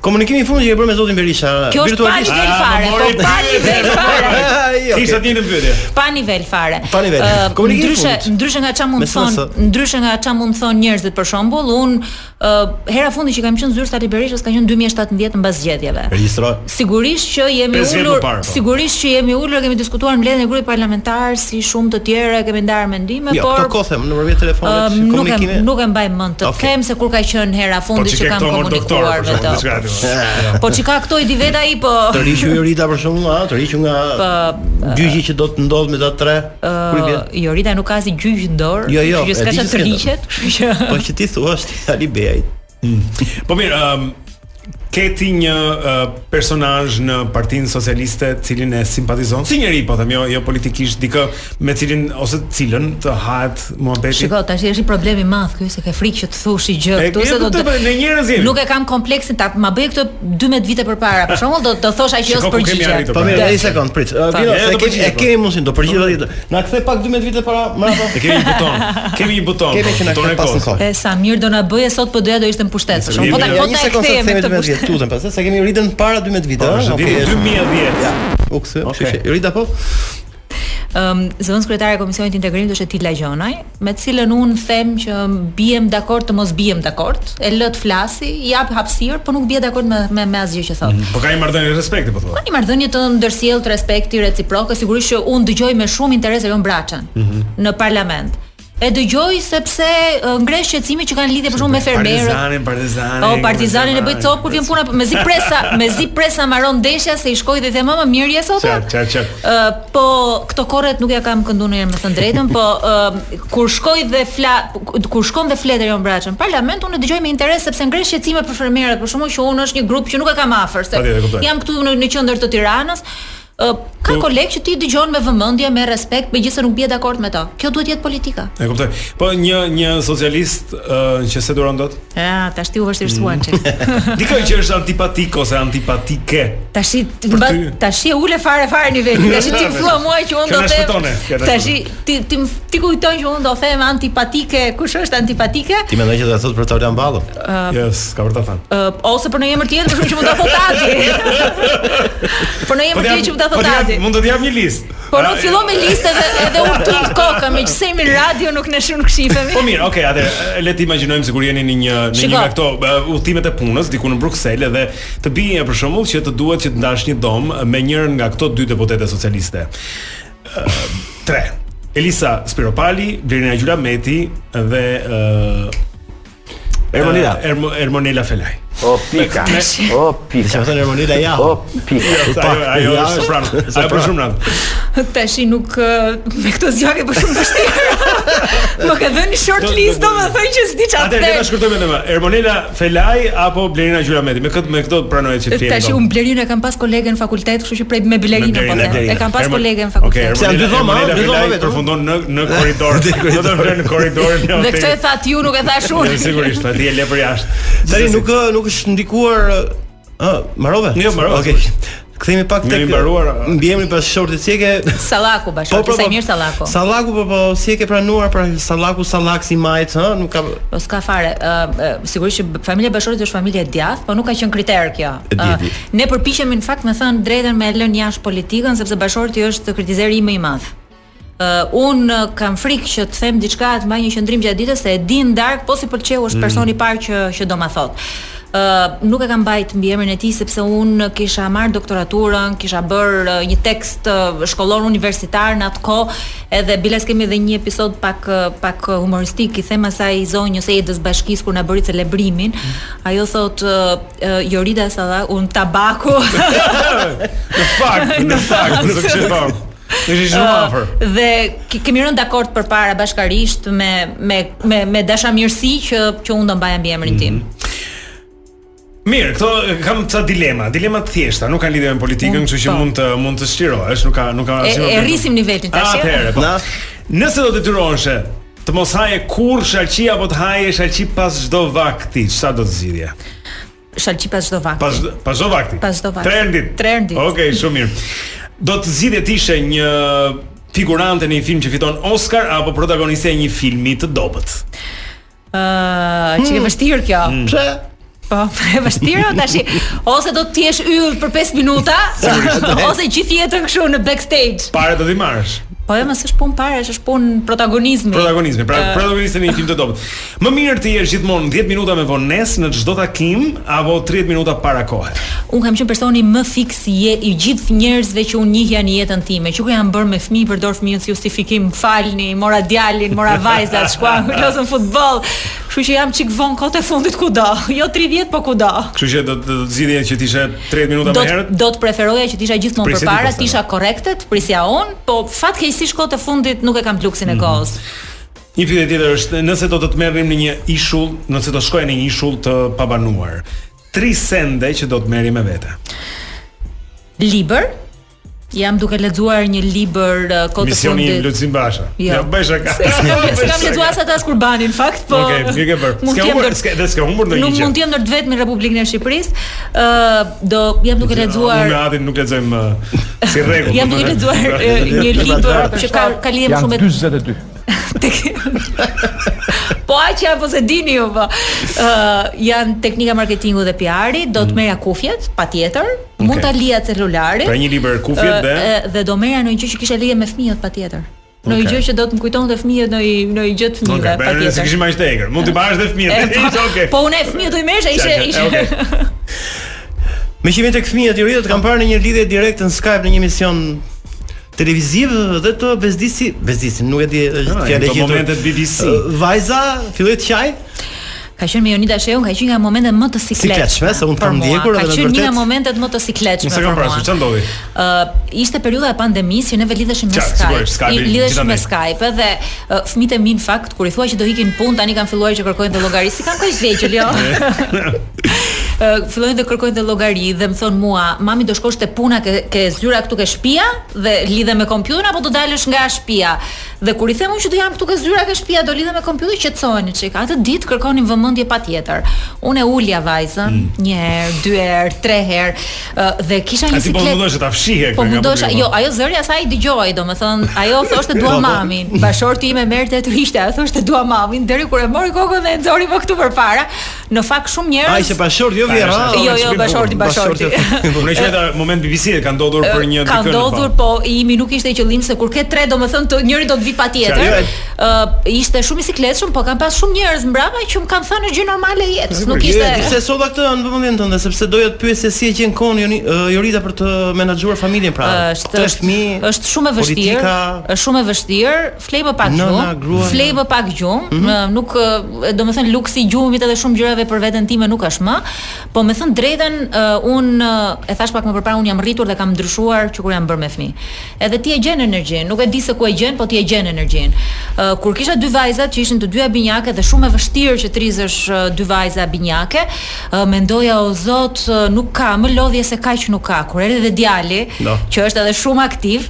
Speaker 11: Komunikimi i fundit që e bërë me zotin Berisha
Speaker 8: Kjo është pa
Speaker 6: Ah,
Speaker 8: nivel fare, po pa nivel fare.
Speaker 6: Kisha të njëjtën pyetje.
Speaker 8: Pa nivel fare.
Speaker 11: Pa nivel.
Speaker 8: Ë,
Speaker 11: Komunikimi
Speaker 8: ndryshe
Speaker 11: fundit.
Speaker 8: ndryshe nga çfarë mund të
Speaker 11: Me
Speaker 8: thon,
Speaker 11: SMS.
Speaker 8: ndryshe nga çfarë mund të thon njerëzit për shembull, un uh, hera fundi që kam qenë zyrtar i Berishës ka qenë 2017 mbas zgjedhjeve.
Speaker 11: Regjistro.
Speaker 8: Sigurisht që jemi
Speaker 6: Pesë vjet më
Speaker 8: ulur,
Speaker 6: parë, po.
Speaker 8: sigurisht që jemi ulur, kemi diskutuar mbledhjen e grupit parlamentar si shumë të tjerë, kemi ndarë mendime,
Speaker 11: Jo,
Speaker 8: por
Speaker 11: këtë kohë them nëpërmjet telefonit,
Speaker 8: Ëm, Ehm, nuk e
Speaker 11: komunikime.
Speaker 8: nuk e mbaj mend të
Speaker 11: Okay.
Speaker 8: them se kur ka qenë hera
Speaker 6: Po
Speaker 8: fundi
Speaker 6: që
Speaker 8: që
Speaker 6: ke
Speaker 8: kam
Speaker 6: këto mor doktor
Speaker 8: komunikuar
Speaker 6: për
Speaker 8: me
Speaker 6: shkak
Speaker 8: të.
Speaker 6: diçka aty.
Speaker 8: Po çka këto i di vetë ai po.
Speaker 11: Të riqu Jorita për shembull, a, të riqu nga
Speaker 8: Po,
Speaker 11: gjyqi që do të ndodh me ta tre. Kur i vjen?
Speaker 8: Ë, Jorita jo, nuk ka si gjyq në dorë,
Speaker 11: Jo, jo,
Speaker 8: kështu që
Speaker 11: e
Speaker 8: s'ka
Speaker 11: di që
Speaker 8: çfarë të
Speaker 11: s'ka.
Speaker 8: riqet, kështu që
Speaker 11: Po që ti thua është Ali Beaj.
Speaker 6: Po mirë, um, ke ti një uh, personazh në Partinë Socialiste, cilin e simpatizon? Si njeri, po them, jo, jo politikisht dikë me cilin ose cilën të hahet muhabeti.
Speaker 8: Shiko, tash është i problemi i madh ky se ke frikë që të thushi gjë
Speaker 6: E, e kuptoj, po, ne njerëz jemi.
Speaker 8: Nuk e kam kompleksin ta ma bëj këto 12 vite përpara. Për shembull, do të thosha që
Speaker 6: Shiko,
Speaker 8: jo
Speaker 6: ku kemi
Speaker 8: s'përgjigje.
Speaker 6: arritur,
Speaker 11: Po
Speaker 6: pra.
Speaker 11: mirë,
Speaker 8: Dhe-
Speaker 11: një sekond, prit. Ë,
Speaker 8: Pa.
Speaker 11: Vino,
Speaker 6: E,
Speaker 11: se
Speaker 6: do
Speaker 11: kemi
Speaker 6: përgjigjesh,
Speaker 11: e
Speaker 6: po.
Speaker 11: kemi mundsinë, do përgjigjesh tjetër. Na kthe pak 12 vite para mbrapa.
Speaker 6: E kemi një buton. Kemi një buton.
Speaker 11: Kemi që na
Speaker 6: buton e
Speaker 11: kthe pas në
Speaker 6: kohës.
Speaker 11: kohë.
Speaker 8: E sa mirë do na bëje sot po doja do ishte në pushtet. Për shembull, po ta
Speaker 6: Jemi-
Speaker 8: po
Speaker 11: një
Speaker 8: ta e
Speaker 11: sekond se
Speaker 8: kthejmë me
Speaker 11: themi
Speaker 8: këtë
Speaker 11: 12 vite,
Speaker 8: pushtet.
Speaker 11: tutën pastaj se kemi Joritën para 12 vite.
Speaker 6: Po,
Speaker 11: ëh,
Speaker 6: është
Speaker 11: okay.
Speaker 6: viti 2010.
Speaker 11: U kthy, kështu
Speaker 6: Okay.
Speaker 11: që Jorita po.
Speaker 8: Ëm zëvendës kryetare e Komisionit të Integrimit është Etila Gjonaj, me të cilën un them që bijem dakord të mos bijem dakord, e lë të flasi, i jap hapësirë, po nuk bie dakord me me, me asgjë që thon.
Speaker 6: Po ka një marrëdhënie respekti po thua.
Speaker 8: Ka një marrëdhënie të ndërsjellë të respekti reciprok, e sigurisht që unë dëgjoj me shumë interes Elon Braçën në parlament. E dëgjoj sepse ë, ngresh qetësimi që kanë lidhje për shkak me fermerët.
Speaker 6: Partizanin, partizanin.
Speaker 8: O partizanin e bëj cop kur vjen puna me zi presa, me zi presa mbaron ndeshja se i shkoj dhe i them mama mirë je sot.
Speaker 6: Qartë, qartë, qartë.
Speaker 8: Ë, po këto korret nuk ja kam kënduar ndonjëherë me thënë drejtën, po ë, kur shkoj dhe fla kur shkon dhe flet Erion Braçën, në parlament unë e dëgjoj me interes sepse ngresh qetësime për fermerët, për shkakun që unë është një grup që nuk e kam afër, se
Speaker 6: Patjetër, kuptoj.
Speaker 8: jam këtu në, në qendër të Tiranës. ë, Ka
Speaker 6: Po-
Speaker 8: kolegë që ti dëgjon me vëmendje, me respekt, megjithëse nuk bie dakord me to. Kjo duhet jetë politika.
Speaker 6: E kuptoj. Po një një socialist ë, që se duron dot.
Speaker 8: Ja, tash ti u vështirësuan çik.
Speaker 6: Dikoj që është antipatik ose antipatike.
Speaker 8: Tashi
Speaker 6: Për
Speaker 8: mba,
Speaker 6: ty.
Speaker 8: tashi e ule fare fare niveli. Tashi ti më thua mua që unë
Speaker 6: Kjo
Speaker 8: do të
Speaker 6: na shpëtone, kjo na
Speaker 8: Tashi ti ti më- ti kujton që unë do them antipatike, kush është antipatike?
Speaker 11: Ti mendoj që do të thot për Taulan Ballo.
Speaker 8: Ah.
Speaker 6: Yes, ka për ta thënë.
Speaker 8: Ë, ose për në emër tjetër, për shkak që mund ta thot Adi. për në emër tjetër që mund ta
Speaker 6: po
Speaker 8: thot
Speaker 6: t'jap-
Speaker 8: Adi.
Speaker 6: Mund Ah, jo. të jap një listë.
Speaker 8: Por
Speaker 6: A,
Speaker 8: unë Po, fillon me listë edhe edhe unë tund kokën, meqenëse jemi në radio nuk ne shumë këshifemi.
Speaker 6: Po mirë, okay, atëherë e, le të imagjinojmë sikur jeni në një në një
Speaker 8: Shiko.
Speaker 6: nga këto e, udhëtimet e punës diku në Bruksel dhe të bie për shembull që të duhet që të ndash një dom me njërin nga këto dy deputete socialiste. Ë, tre. Elisa Spiropali, Blerina Gjylameti dhe ë
Speaker 11: Ermonila.
Speaker 6: ë, Ermo- Ermonela Felaj.
Speaker 12: O pika. O pika.
Speaker 11: Çfarë thënë Ermonila ja.
Speaker 12: O
Speaker 6: Po,
Speaker 12: pika.
Speaker 6: jo, Ajo ajo
Speaker 11: ja,
Speaker 6: është
Speaker 11: është-
Speaker 6: pranë.
Speaker 11: është
Speaker 6: Ajo për
Speaker 11: pranë.
Speaker 6: shumë rand.
Speaker 8: Tashi nuk ë, me këto zgjakje për shumë vështirë. Më ka dhënë një short list, domethënë që s'di çfarë
Speaker 6: Atë
Speaker 8: të
Speaker 6: le ta
Speaker 8: them.
Speaker 6: shkurtojmë edhe më. Ermonela Felaj apo Blerina Gjylameti. Me këtë me këto pranohet që të jemi.
Speaker 8: Tashi
Speaker 6: dom.
Speaker 8: un Blerin e kam pas kolegen në fakultet, kështu që prej me Blerin po
Speaker 6: Blerina,
Speaker 8: them.
Speaker 6: Blerina.
Speaker 8: E kam pas
Speaker 6: Ermo-
Speaker 8: kolegen në
Speaker 6: Okej,
Speaker 8: fakultet.
Speaker 11: Se janë dy
Speaker 6: Ermonela-
Speaker 11: dhoma,
Speaker 6: Ermonela
Speaker 11: dy dhoma
Speaker 6: Belaj
Speaker 11: vetëm.
Speaker 6: Përfundon në në korridor. Do të vlen në korridorin e
Speaker 8: Dhe këtë e
Speaker 6: hotelit.
Speaker 8: that ju, nuk e thash unë.
Speaker 6: Jo, Sigurisht, aty e le për jashtë.
Speaker 11: Tani nuk ë, nuk është ndikuar ë, ë, mbarove?
Speaker 6: Jo, mbarove,
Speaker 11: Okej. Kthehemi pak
Speaker 6: Ne
Speaker 11: tek
Speaker 6: jemi mbaruar, a?
Speaker 11: mbiemri pas shortit si e ke
Speaker 8: Sallaku bashkë, po, sa mirë Sallaku.
Speaker 11: Sallaku po po si e ke pranuar pra Sallaku Sallak si majt, ha, nuk ka
Speaker 8: Po s'ka fare, ë ë, sigurisht që b- familja e Bashorit është familje e djathtë, po nuk ka qenë kriter kjo.
Speaker 11: E di,
Speaker 8: Ë,
Speaker 11: di.
Speaker 8: ne përpiqemi në fakt me thënë drejtën me e lënë jashtë politikën sepse Bashorti është kritizeri im më i madh. Uh, un uh, kam frikë që të them diçka të mbaj një qendrim gjatë ditës se e di në darkë po si pëlqeu është personi i parë që që do ma thot. ë nuk e kam mbajt mbiemrin e tij sepse un kisha marr doktoraturën, kisha bër ë, një tekst ë, shkollor universitar në atë kohë, edhe biles kemi edhe një episod pak ë, pak humoristik i them asaj zonjës së Edës Bashkisë kur na bëri celebrimin. Ajo thot ë, ë, Jorida sa dha un tabaku.
Speaker 6: Në fakt, në fakt, nuk është e vërtetë. Është shumë
Speaker 8: Ë,
Speaker 6: afër.
Speaker 8: Ah, Dhe ke- kemi rënë dakord përpara bashkarisht me me me, me dashamirësi që që unë do mbaja mbiemrin tim.
Speaker 6: Mhm. Mirë, këto e, kam ca dilema, dilema të thjeshta, nuk kanë lidhje me politikën, kështu që mund të mund të shqirohesh, nuk ka nuk ka
Speaker 8: Mm, po. E, e
Speaker 6: asnjë problem.
Speaker 8: rrisim nivelin tash. e?
Speaker 6: Atëherë, po. Nëse do të tyroheshe të mos haje kur shalqi apo të haje shalqi pas çdo vakti, çfarë do të zgjidhje?
Speaker 8: Shalqi pas çdo vakti.
Speaker 6: Pas çdo- pas çdo vakti.
Speaker 8: Pas çdo vakti.
Speaker 6: Tre herë në ditë.
Speaker 8: Tre herë në ditë.
Speaker 6: Okej, shumë mirë. Do të zgjidhje të ishe një figurante në një film që fiton Oscar apo protagoniste e një filmi të dobët?
Speaker 8: Ë, Ah, çike
Speaker 6: Hmm.
Speaker 8: vështirë kjo.
Speaker 6: Hmm. Pse?
Speaker 8: Po, e vështirë o tash. Ose do të jesh yll për 5 minuta,
Speaker 6: Sigurisht.
Speaker 8: ose gjithë jetën kështu në backstage.
Speaker 6: Pare do t'i marrësh.
Speaker 8: Po jo, mos është punë parë, është punë protagonizmi.
Speaker 6: Protagonizmi, pra
Speaker 8: Ë,
Speaker 6: protagoniste në një film të dobët. Më mirë të jesh gjithmonë 10 minuta me vonesë në çdo takim apo 30 minuta para kohe.
Speaker 8: Un kam qenë personi më fiks i je- i gjithë njerëzve që unë njihja në jetën time. Që kur jam bërë me fëmijë, përdor fëmijën si justifikim, falni, mora djalin, mora vajzat, shkuan, lozën futboll. Kështu që jam çik vonë kot e fundit kudo. Jo 30, po kudo.
Speaker 6: Kështu që do të do të zgjidhje që të ishe 30 minuta
Speaker 8: Do
Speaker 6: më herët.
Speaker 8: të, do të preferoja që të isha gjithmonë
Speaker 6: Prisje ti po
Speaker 8: përpara,
Speaker 6: pastaj.
Speaker 8: të isha korrekte, të prisja unë, po fatkeqësisht kot e fundit nuk e kam pluksin
Speaker 6: Mhm.
Speaker 8: e kohës.
Speaker 6: Një pyetje tjetër është, nëse do të të merrim në një ishull, nëse do shkojë në një ishull të pabanuar, tri sende që do të merrim me vete.
Speaker 8: Libër. Jam duke lexuar një libër uh, kot e
Speaker 6: Misioni i
Speaker 8: fundit.
Speaker 6: Lutsin Basha.
Speaker 8: Jo.
Speaker 6: Ja bëj shaka.
Speaker 8: Se kam, se kam lexuar sa të as kurbanin, në fakt, po.
Speaker 6: Okej, mirë ke bërë.
Speaker 8: Mund
Speaker 6: S'ke
Speaker 8: t'jem
Speaker 6: humbur,
Speaker 8: ndër-
Speaker 6: s'ke dhe s'ke humbur ndonjë
Speaker 8: Nuk
Speaker 6: gjë.
Speaker 8: mund të jem ndër të vetmin në Republikën e Shqipërisë. Ë do jam duke
Speaker 6: Unë me
Speaker 8: lexuar
Speaker 6: Adin nuk lexojmë uh, si rregull.
Speaker 8: jam duke lexuar ë, një libër që ka ka lidhje më shumë me
Speaker 6: 42.
Speaker 8: po aq apo se dini ju po. Ë janë teknika marketingu dhe PR-i, do të merja kufjet, patjetër. Mund ta lija celularin.
Speaker 6: Mm. Pra një libër kufjet
Speaker 8: ë,
Speaker 6: dhe-
Speaker 8: ë, dhe do merja në një gjë që kisha lidhje me fëmijët patjetër. Në një
Speaker 6: Okej.
Speaker 8: gjë që do të më kujtonte fëmijët në një në një gjë të fëmijëve
Speaker 6: Okej, bëre se kishim aq të egër. Mund t'i bash dhe
Speaker 8: E,
Speaker 6: fëmijët.
Speaker 8: po,
Speaker 6: Ishte okay.
Speaker 8: Po unë e fëmijët do i merresha, ishe
Speaker 6: Qa, qa,
Speaker 8: ishe.
Speaker 6: e, okej.
Speaker 11: Me qimi tek fëmijët i rritët kam parë në një lidhje direkte në Skype në një emision televiziv dhe të bezdisi, bezdisi, nuk e di
Speaker 6: Ah,
Speaker 11: fjalë
Speaker 6: në
Speaker 11: e gjetur.
Speaker 6: momentet BBC.
Speaker 11: Ë, Vajza filloi të qaj,
Speaker 8: Ka qenë me Jonida Sheun, ka qenë nga momentet më të sikletshme
Speaker 11: Sikletshme, se unë
Speaker 8: për
Speaker 11: kam
Speaker 8: mua.
Speaker 11: ndjekur
Speaker 8: Ka
Speaker 11: edhe në
Speaker 8: qenë një
Speaker 11: vërtet.
Speaker 8: nga momentet më të sikletshme
Speaker 6: Unë
Speaker 8: për
Speaker 6: s'e
Speaker 8: mua.
Speaker 6: kam parasysh ç'a ndodhi.
Speaker 8: Ë, ishte periudha e pandemisë që neve lidheshim me
Speaker 6: Qartë,
Speaker 8: Skype.
Speaker 6: sigurisht, Skype-i
Speaker 8: I lidheshim me
Speaker 6: gjithandej.
Speaker 8: Skype dhe uh, fëmijët e mi në fakt kur i thua që do ikin punë tani kanë filluar që kërkojnë të llogari, si kanë kaq vdequr jo. Ë, fillojnë dhe kërkojnë të llogari dhe më thon mua, mami do shkosh te puna ke, ke zyra këtu ke shtëpia dhe lidhe me kompjuterin apo do dalësh nga shtëpia. Dhe kur i them unë që do jam këtu ke zyra ke shtëpia do lidhe me kompjuterin qetësoheni çik. Atë ditë kërkonin vëmendje patjetër. Unë e ulja vajzën
Speaker 6: Mm.
Speaker 8: një herë, dy herë, tre herë ë, dhe kisha
Speaker 6: A
Speaker 8: një
Speaker 6: ti po
Speaker 8: siklet.
Speaker 6: mundosh ta fshihje
Speaker 8: Po
Speaker 6: këtë nga
Speaker 8: mundosha,
Speaker 6: publiku?
Speaker 8: jo, ajo zëri asaj dëgjoi, domethënë, ajo thoshte dua
Speaker 6: Po, po.
Speaker 8: mamin. Bashorti im e merrte të rishte, ajo thoshte dua mamin, deri kur e mori kokën dhe e nxori më këtu përpara. Në fakt shumë njerëz.
Speaker 11: ai se bashort jo vjerra.
Speaker 8: Jo, jo, bashorti, bashorti.
Speaker 6: Unë që ata moment BBC e ka ndodhur për një
Speaker 8: Ka ndodhur, po i imi nuk ishte i qëllim se kur ke tre domethënë të njëri do të vi
Speaker 6: Qa,
Speaker 8: patjetër.
Speaker 6: jo,
Speaker 8: Ë ishte shumë i sikletshëm, po kanë pas shumë njerëz mbrapa që më kanë thënë gjë normale e jetës. Nuk
Speaker 11: Sepse
Speaker 8: ishte
Speaker 11: solla këtë në vëmendjen tënde, sepse doja të pyes se si e gjen kohën Joni- ë, Jorita për të menaxhuar familjen pra.
Speaker 8: është është, është shumë e vështirë.
Speaker 11: politika-
Speaker 8: Është shumë e vështirë. Flej më pak
Speaker 11: Nëna, Mhm.
Speaker 8: gjumë.
Speaker 11: grua,
Speaker 8: Flej më pak gjumë. ë, Nuk ë, domethënë luksi i gjumit edhe shumë gjërave për veten time nuk është më. Po me thënë drejtën, ë, un ë, e thash pak më përpara, un jam rritur dhe kam ndryshuar që kur jam bërë me fëmijë. Edhe ti e gjen energjinë, nuk e di se ku e gjen, po ti e gjen energjinë. Ë, kur kisha dy vajzat që ishin të dyja binjake dhe shumë e vështirë që të rizësh ë, dy vajza binjake, ë, mendoja o zot, ë, nuk ka më lodhje se kaq nuk ka. Kur erdhi dhe djali,
Speaker 13: Do.
Speaker 8: që është edhe shumë aktiv,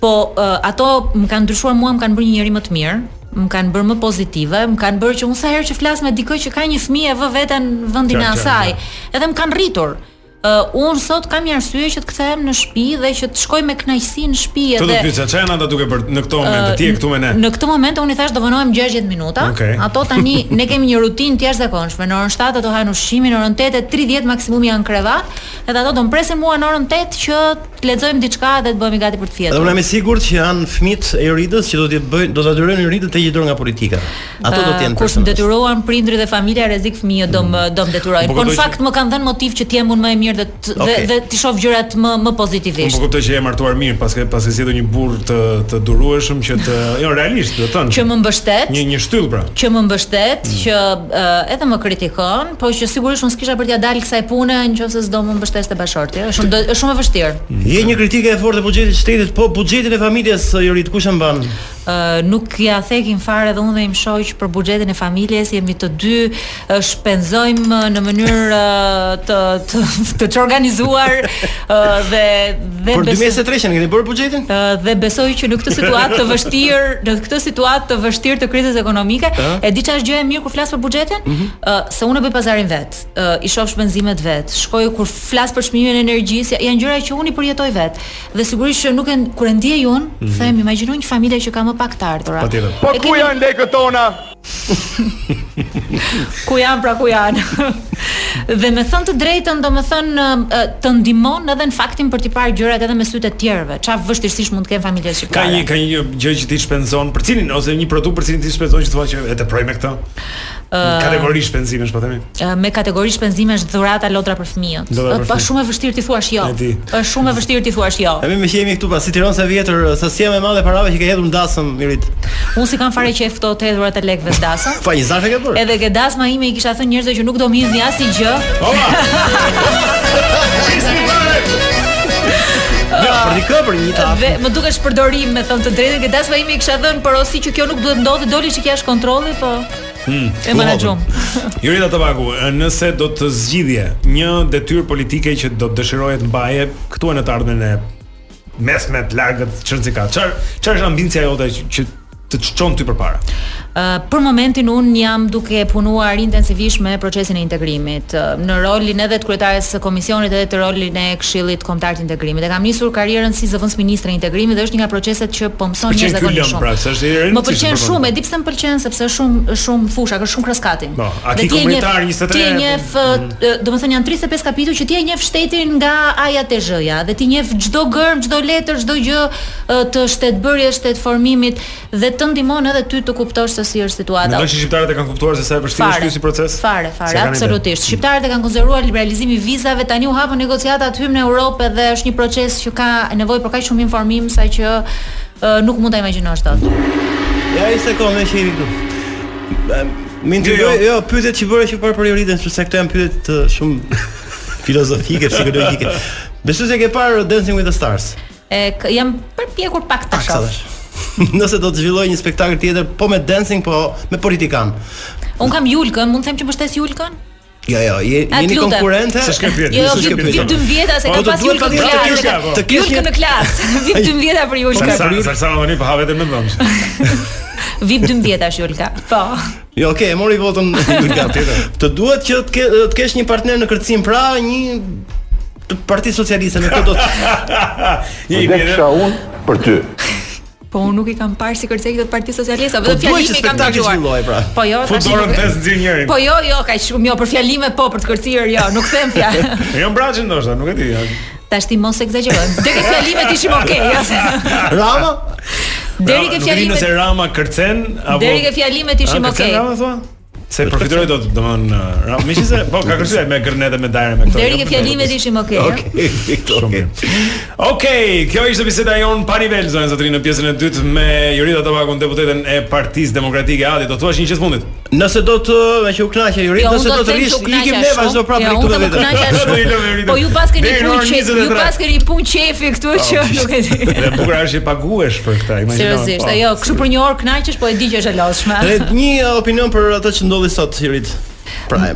Speaker 8: po uh, ato më kanë ndryshuar mua, më kanë bërë një njerëz më të mirë, më kanë bërë më pozitive, më kanë bërë që unë sa herë që flas me dikë që ka një fëmijë e vë veten në vendin e
Speaker 13: Qartë, qartë,
Speaker 8: asaj, edhe më kanë rritur. Uh, unë sot kam një arsye që të kthehem në shtëpi dhe që të shkoj me kënaqësi në shtëpi
Speaker 6: Të do
Speaker 8: edhe
Speaker 6: të pyesa çfarë janë ata duke bërë në këto moment,
Speaker 8: Ë,
Speaker 6: të ti e këtu me ne.
Speaker 8: Në këtë moment unë i thash do vënohem 60 minuta.
Speaker 6: Okej.
Speaker 8: Ato tani ne kemi një rutinë të jashtëzakonshme. Në orën 7 ato hajnë ushqimin, në orën 8 30 maksimumi janë krevat, edhe ato do mpresin mua në orën 8 që të lexojmë diçka dhe të bëhemi gati për të
Speaker 2: Edhe unë
Speaker 8: fjetur.
Speaker 2: jam i sigurt që janë fëmijët e Euridës që do të bëjnë do ta detyrojnë Euridën të jetë nga politika. Ato do të
Speaker 8: Ë,
Speaker 2: jenë
Speaker 8: kur
Speaker 2: personazhe.
Speaker 8: më detyruan prindrit dhe familja rrezik fëmijë do më do më detyrojnë.
Speaker 2: Po,
Speaker 8: Po
Speaker 2: kuptoj
Speaker 8: në
Speaker 2: që-
Speaker 8: fakt më kanë dhënë motiv që të jem unë më e mirë dhe të, dhe,
Speaker 6: Okej.
Speaker 8: dhe të shoh gjërat më më
Speaker 6: Unë po
Speaker 8: pozitivisht.
Speaker 6: kuptoj që je martuar mirë, pas ke pas ke zgjedhur një burr të të durueshëm që të, jo realisht, do të thënë.
Speaker 8: Që më mbështet.
Speaker 6: Një një shtyll pra.
Speaker 8: që më mbështet, që uh, edhe më kritikon, po që sigurisht unë s'kisha për t'ia dalë kësaj pune nëse s'do më mbështeste bashorti. Është shumë do- është shumë e vështirë.
Speaker 2: Je një kritike e fortë e buxhetit të shtetit, po buxhetin e familjes e Eurit kush e mban?
Speaker 8: Ë, Eh, nuk ja thekin fare dhe unë dhe im shoq për buxhetin e familjes, jemi të dy ë, shpenzojmë ë, në mënyrë ë, të të të çorganizuar ë, dhe dhe
Speaker 2: Për
Speaker 8: besoj- Po.
Speaker 2: 2023 që ne keni bërë buxhetin?
Speaker 8: dhe besoj që në këtë situatë të vështirë, në këtë situatë të vështirë të krizës ekonomike,
Speaker 2: Ë?
Speaker 8: e di çfarë është gjë e mirë kur flas për buxhetin,
Speaker 2: Mhm.
Speaker 8: ë, se unë e bëj pazarin vet, ë, i shoh shpenzimet vet, shkoj kur flas për çmimin e energjisë, janë gjëra që unë i përjetoj vet. Dhe sigurisht që nuk e kur e ndjej unë,
Speaker 10: Mhm.
Speaker 8: them imagjinoj një familje që ka më pak të ardhurat.
Speaker 10: Patjetër.
Speaker 8: Po ku janë
Speaker 10: lekët tona?
Speaker 8: ku janë pra ku janë. dhe me thënë të drejtën, domethënë ë, ë, të ndihmon edhe në faktin për të parë gjërat edhe me sytë të tjerëve. Çfarë vështirësisht mund të kenë familjet
Speaker 6: Ka
Speaker 8: shqiptare.
Speaker 6: një ka një gjë që ti shpenzon për cilin ose një produkt për cilin ti shpenzon që thua që e teproj me këtë.
Speaker 8: Ë,
Speaker 6: Kategori shpenzimesh po themi.
Speaker 8: Ë, me kategori shpenzimesh dhurata lotra për fëmijët.
Speaker 2: Lotra për
Speaker 8: Ë, Po
Speaker 2: fëmijët.
Speaker 8: shumë e vështirë ti thuash jo.
Speaker 2: E di.
Speaker 8: Është shumë e vështirë ti thuash jo.
Speaker 2: E mi më që jemi këtu pas si Tiranë sa vjetër, sasia më e madhe parave që ka hedhur ndasëm Eurit.
Speaker 8: Unë si kam fare qef këto të hedhurat e lekëve të dasëm.
Speaker 2: Pa një zarfe ke bërë.
Speaker 8: Edhe ke dasma ime i kisha thënë njerëzve që nuk do më hidhni asnjë gjë.
Speaker 2: Jo, për dikë për një tafë.
Speaker 8: Dhe më dukesh përdorim me thënë të drejtën, ke dasma ime i kisha thënë por osi që kjo nuk duhet ndodhi, doli që kjo është kontrolli, po
Speaker 2: Hmm,
Speaker 6: Mm.
Speaker 8: e
Speaker 2: po,
Speaker 8: menaxhom.
Speaker 6: Jurita Tabaku, nëse do të zgjidhje një detyrë politike që do të dëshirohet mbaje këtu e në të ardhmen e mesme të largët çrëndika. Çfar çfarë është ambicia jote që- që të çon ty përpara?
Speaker 8: Ë, për momentin un jam duke punuar intensivisht me procesin e integrimit, ë, në rolin edhe të kryetares së komisionit edhe të rolin e Këshillit Kombëtar të Integrimit. E kam nisur karrierën si zëvendës ministre e integrimit dhe është një nga proceset që po mëson
Speaker 6: Pëlqen ky
Speaker 8: njerëzakonisht
Speaker 6: lëm
Speaker 8: shumë.
Speaker 6: pra, se është i
Speaker 8: Më
Speaker 6: rëndësishëm
Speaker 8: pëlqen
Speaker 6: për
Speaker 8: shumë, e di pse më pëlqen sepse është shumë shumë fusha, ka shumë kraskati.
Speaker 6: Po, a
Speaker 8: Dhe
Speaker 6: ki
Speaker 8: ti e njeh-
Speaker 6: komunitar po, 23?
Speaker 8: Ti e njeh,
Speaker 6: mm.
Speaker 8: ë, domethënë janë 35 kapituj që ti e njeh shtetin nga A-ja te Z-ja dhe ti njeh çdo gërm, çdo letër, çdo gjë ë, të shtetbërjes, shtetformimit dhe të ndihmon edhe ty të kuptosh se si është situata.
Speaker 6: Mendoj që shqiptarët e kanë kuptuar se sa e vështirë është
Speaker 8: Fare.
Speaker 6: ky si proces?
Speaker 8: Fare,
Speaker 6: Se
Speaker 8: fare,
Speaker 6: kanë ide.
Speaker 8: absolutisht. Shqiptarët e kanë konsideruar liberalizimin e vizave, tani u hapën negociatat hym në Europë dhe është një proces që ka nevojë për kaq shumë informim sa që ë, nuk mund ta imagjinosh dot.
Speaker 2: Ja, i sekondë që jemi këtu. Më intrigoi, jo, pyetjet që bëra që parë për Euritën, sepse këto janë pyetje të shumë filozofike, psikologjike. Besoj se ke parë Dancing with the Stars.
Speaker 8: E k- jam përpjekur pak ta
Speaker 2: Sa
Speaker 8: shoh.
Speaker 2: thash? Nëse do të zhvilloj një spektakël tjetër, po me dancing, po me politikan.
Speaker 8: Un kam Julkën, mund të them që mbështes Julkën?
Speaker 2: Jo, jo, je,
Speaker 8: A,
Speaker 2: jeni
Speaker 8: t'lutem.
Speaker 2: konkurrente.
Speaker 8: Se s'ke pyetje, Jo, s'ke vit- pyetje. vit 12-a
Speaker 2: Po,
Speaker 8: se ka pas Julkën në klasë.
Speaker 2: Të kesh
Speaker 8: Julkën në klasë. Vip 12-a për Julkën.
Speaker 6: Sa sa më tani po ha vetëm me vëmsh.
Speaker 8: Vip 12-a është Julka. Po.
Speaker 2: Jo, okay, e mori votën Julka. të duhet që të, ke, të kesh një partner në kërcim, pra një të Parti Socialiste, me këtë do të
Speaker 6: Një
Speaker 14: Dhe kisha unë për ty.
Speaker 8: Po unë nuk i kam parë si kërcekët e Partisë Socialiste,
Speaker 2: Po
Speaker 8: vetëm
Speaker 2: duhet
Speaker 8: fjalimi
Speaker 2: që
Speaker 8: i kam
Speaker 2: spektakli
Speaker 8: dëgjuar.
Speaker 2: zhvilloj pra.
Speaker 8: Po jo,
Speaker 6: Fut
Speaker 8: tash
Speaker 6: dorën
Speaker 8: nuk-
Speaker 6: tes nxjerr njërin.
Speaker 8: Po jo, jo, kaq shumë, jo, për fjalime po, për të kërcyer jo, nuk them fjalë.
Speaker 6: Jo mbraqin ndoshta, nuk e di. ja.
Speaker 8: Tash ti mos egzagjerojmë. Deri ke fjalimet ishim okay, jo. se-
Speaker 2: Rama?
Speaker 8: Deri ke
Speaker 6: Rama, nuk e di
Speaker 8: fjalimet.
Speaker 6: Nëse Ah, Rama kërcen apo
Speaker 8: Deri ke fjalimet ishim
Speaker 6: A, kërcen
Speaker 8: okay.
Speaker 6: Rama, thua? Se përfituroj dot, domthon, Rama, meqense po ka kërcyer me gërnete me dajre me këto.
Speaker 8: Deri
Speaker 6: jo,
Speaker 8: ke
Speaker 6: me-
Speaker 8: fjalimet ishim okay. jo?
Speaker 2: Okej,
Speaker 6: okay. Okej, kjo ishte biseda jon pa nivel zonë zotrin në pjesën e dytë me Jurita Tabakun, deputeten e Partisë Demokratike Adi. Do thuash një gjë të fundit.
Speaker 2: Nëse do të me që u kënaqë Juri,
Speaker 8: Jo, unë
Speaker 2: nëse
Speaker 8: do të
Speaker 2: do të
Speaker 8: them që
Speaker 2: rish,
Speaker 8: u kënaqja
Speaker 2: ikim ne
Speaker 8: shumë.
Speaker 2: vazhdo prapë
Speaker 8: Jo,
Speaker 2: ja,
Speaker 8: unë
Speaker 2: këtu
Speaker 8: do
Speaker 2: dhe
Speaker 8: të
Speaker 2: vetë.
Speaker 8: kënaqja shumë. Po ju pas keni
Speaker 6: Deri në
Speaker 8: punë
Speaker 6: orën
Speaker 8: qefi, ju
Speaker 6: 23.
Speaker 8: pas keni punë qefi këtu që nuk e di.
Speaker 6: Dhe bukur është që paguhesh për këtë, imagjino.
Speaker 8: Seriozisht, ajo, kështu për një orë po kënaqesh, po e di që është e lodhshme.
Speaker 2: Dhe një uh, opinion për atë që ndodhi sot Jurit. Pra,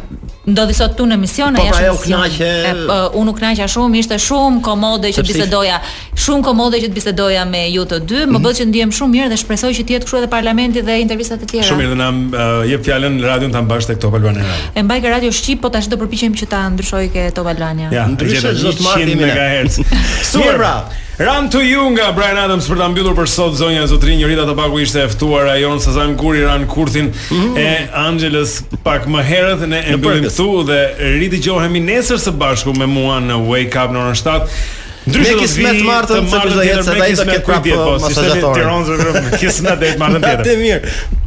Speaker 8: ndodhi sot tu në emision,
Speaker 11: Po,
Speaker 8: ai
Speaker 11: pra,
Speaker 8: është
Speaker 11: ajo
Speaker 8: në emision.
Speaker 11: knaqe-
Speaker 8: E, po, unë u knaqa shumë, ishte shumë komode që
Speaker 11: Sepse ishte-
Speaker 8: bisedoja, shumë komode që të bisedoja me ju të dy, më bë që ndihem shumë mirë dhe shpresoj që të jetë kështu edhe parlamenti dhe intervistat e tjera.
Speaker 6: Shumë mirë dhe na uh, jep fjalën radion ta mbash tek Top Albania Radio.
Speaker 8: E mbaj ke Radio Shqip, po tash do përpiqem që ta ndryshoj ke Top Albania.
Speaker 6: Ja, ndryshe
Speaker 11: ndryshe çdo të marrë jemi ne.
Speaker 6: Super pra. Run to you nga Brian Adams për ta mbyllur për sot zonja e zotrin Jorita Tabaku ishte e ftuar ajon Sazan Kuri ran kurthin e Angelës pak më herët ne e
Speaker 11: Në
Speaker 6: mbyllim
Speaker 11: përkës.
Speaker 6: këtu dhe ridëgjohemi nesër së bashku me mua në Wake Up në orën 7. Ndryshe
Speaker 13: Me
Speaker 6: do të
Speaker 13: kismet
Speaker 6: vi
Speaker 13: martën, se
Speaker 6: të martën
Speaker 13: vazhdo jetë
Speaker 6: tjetër
Speaker 13: se
Speaker 6: me
Speaker 13: ai do
Speaker 6: kismet
Speaker 13: ketë
Speaker 6: kujt
Speaker 13: prapë,
Speaker 6: jetë, po,
Speaker 13: uh,
Speaker 6: si shteti
Speaker 13: masazhatorë.
Speaker 6: Tiranë zërëm, kismet dhe martën tjetër.
Speaker 13: Atë mirë.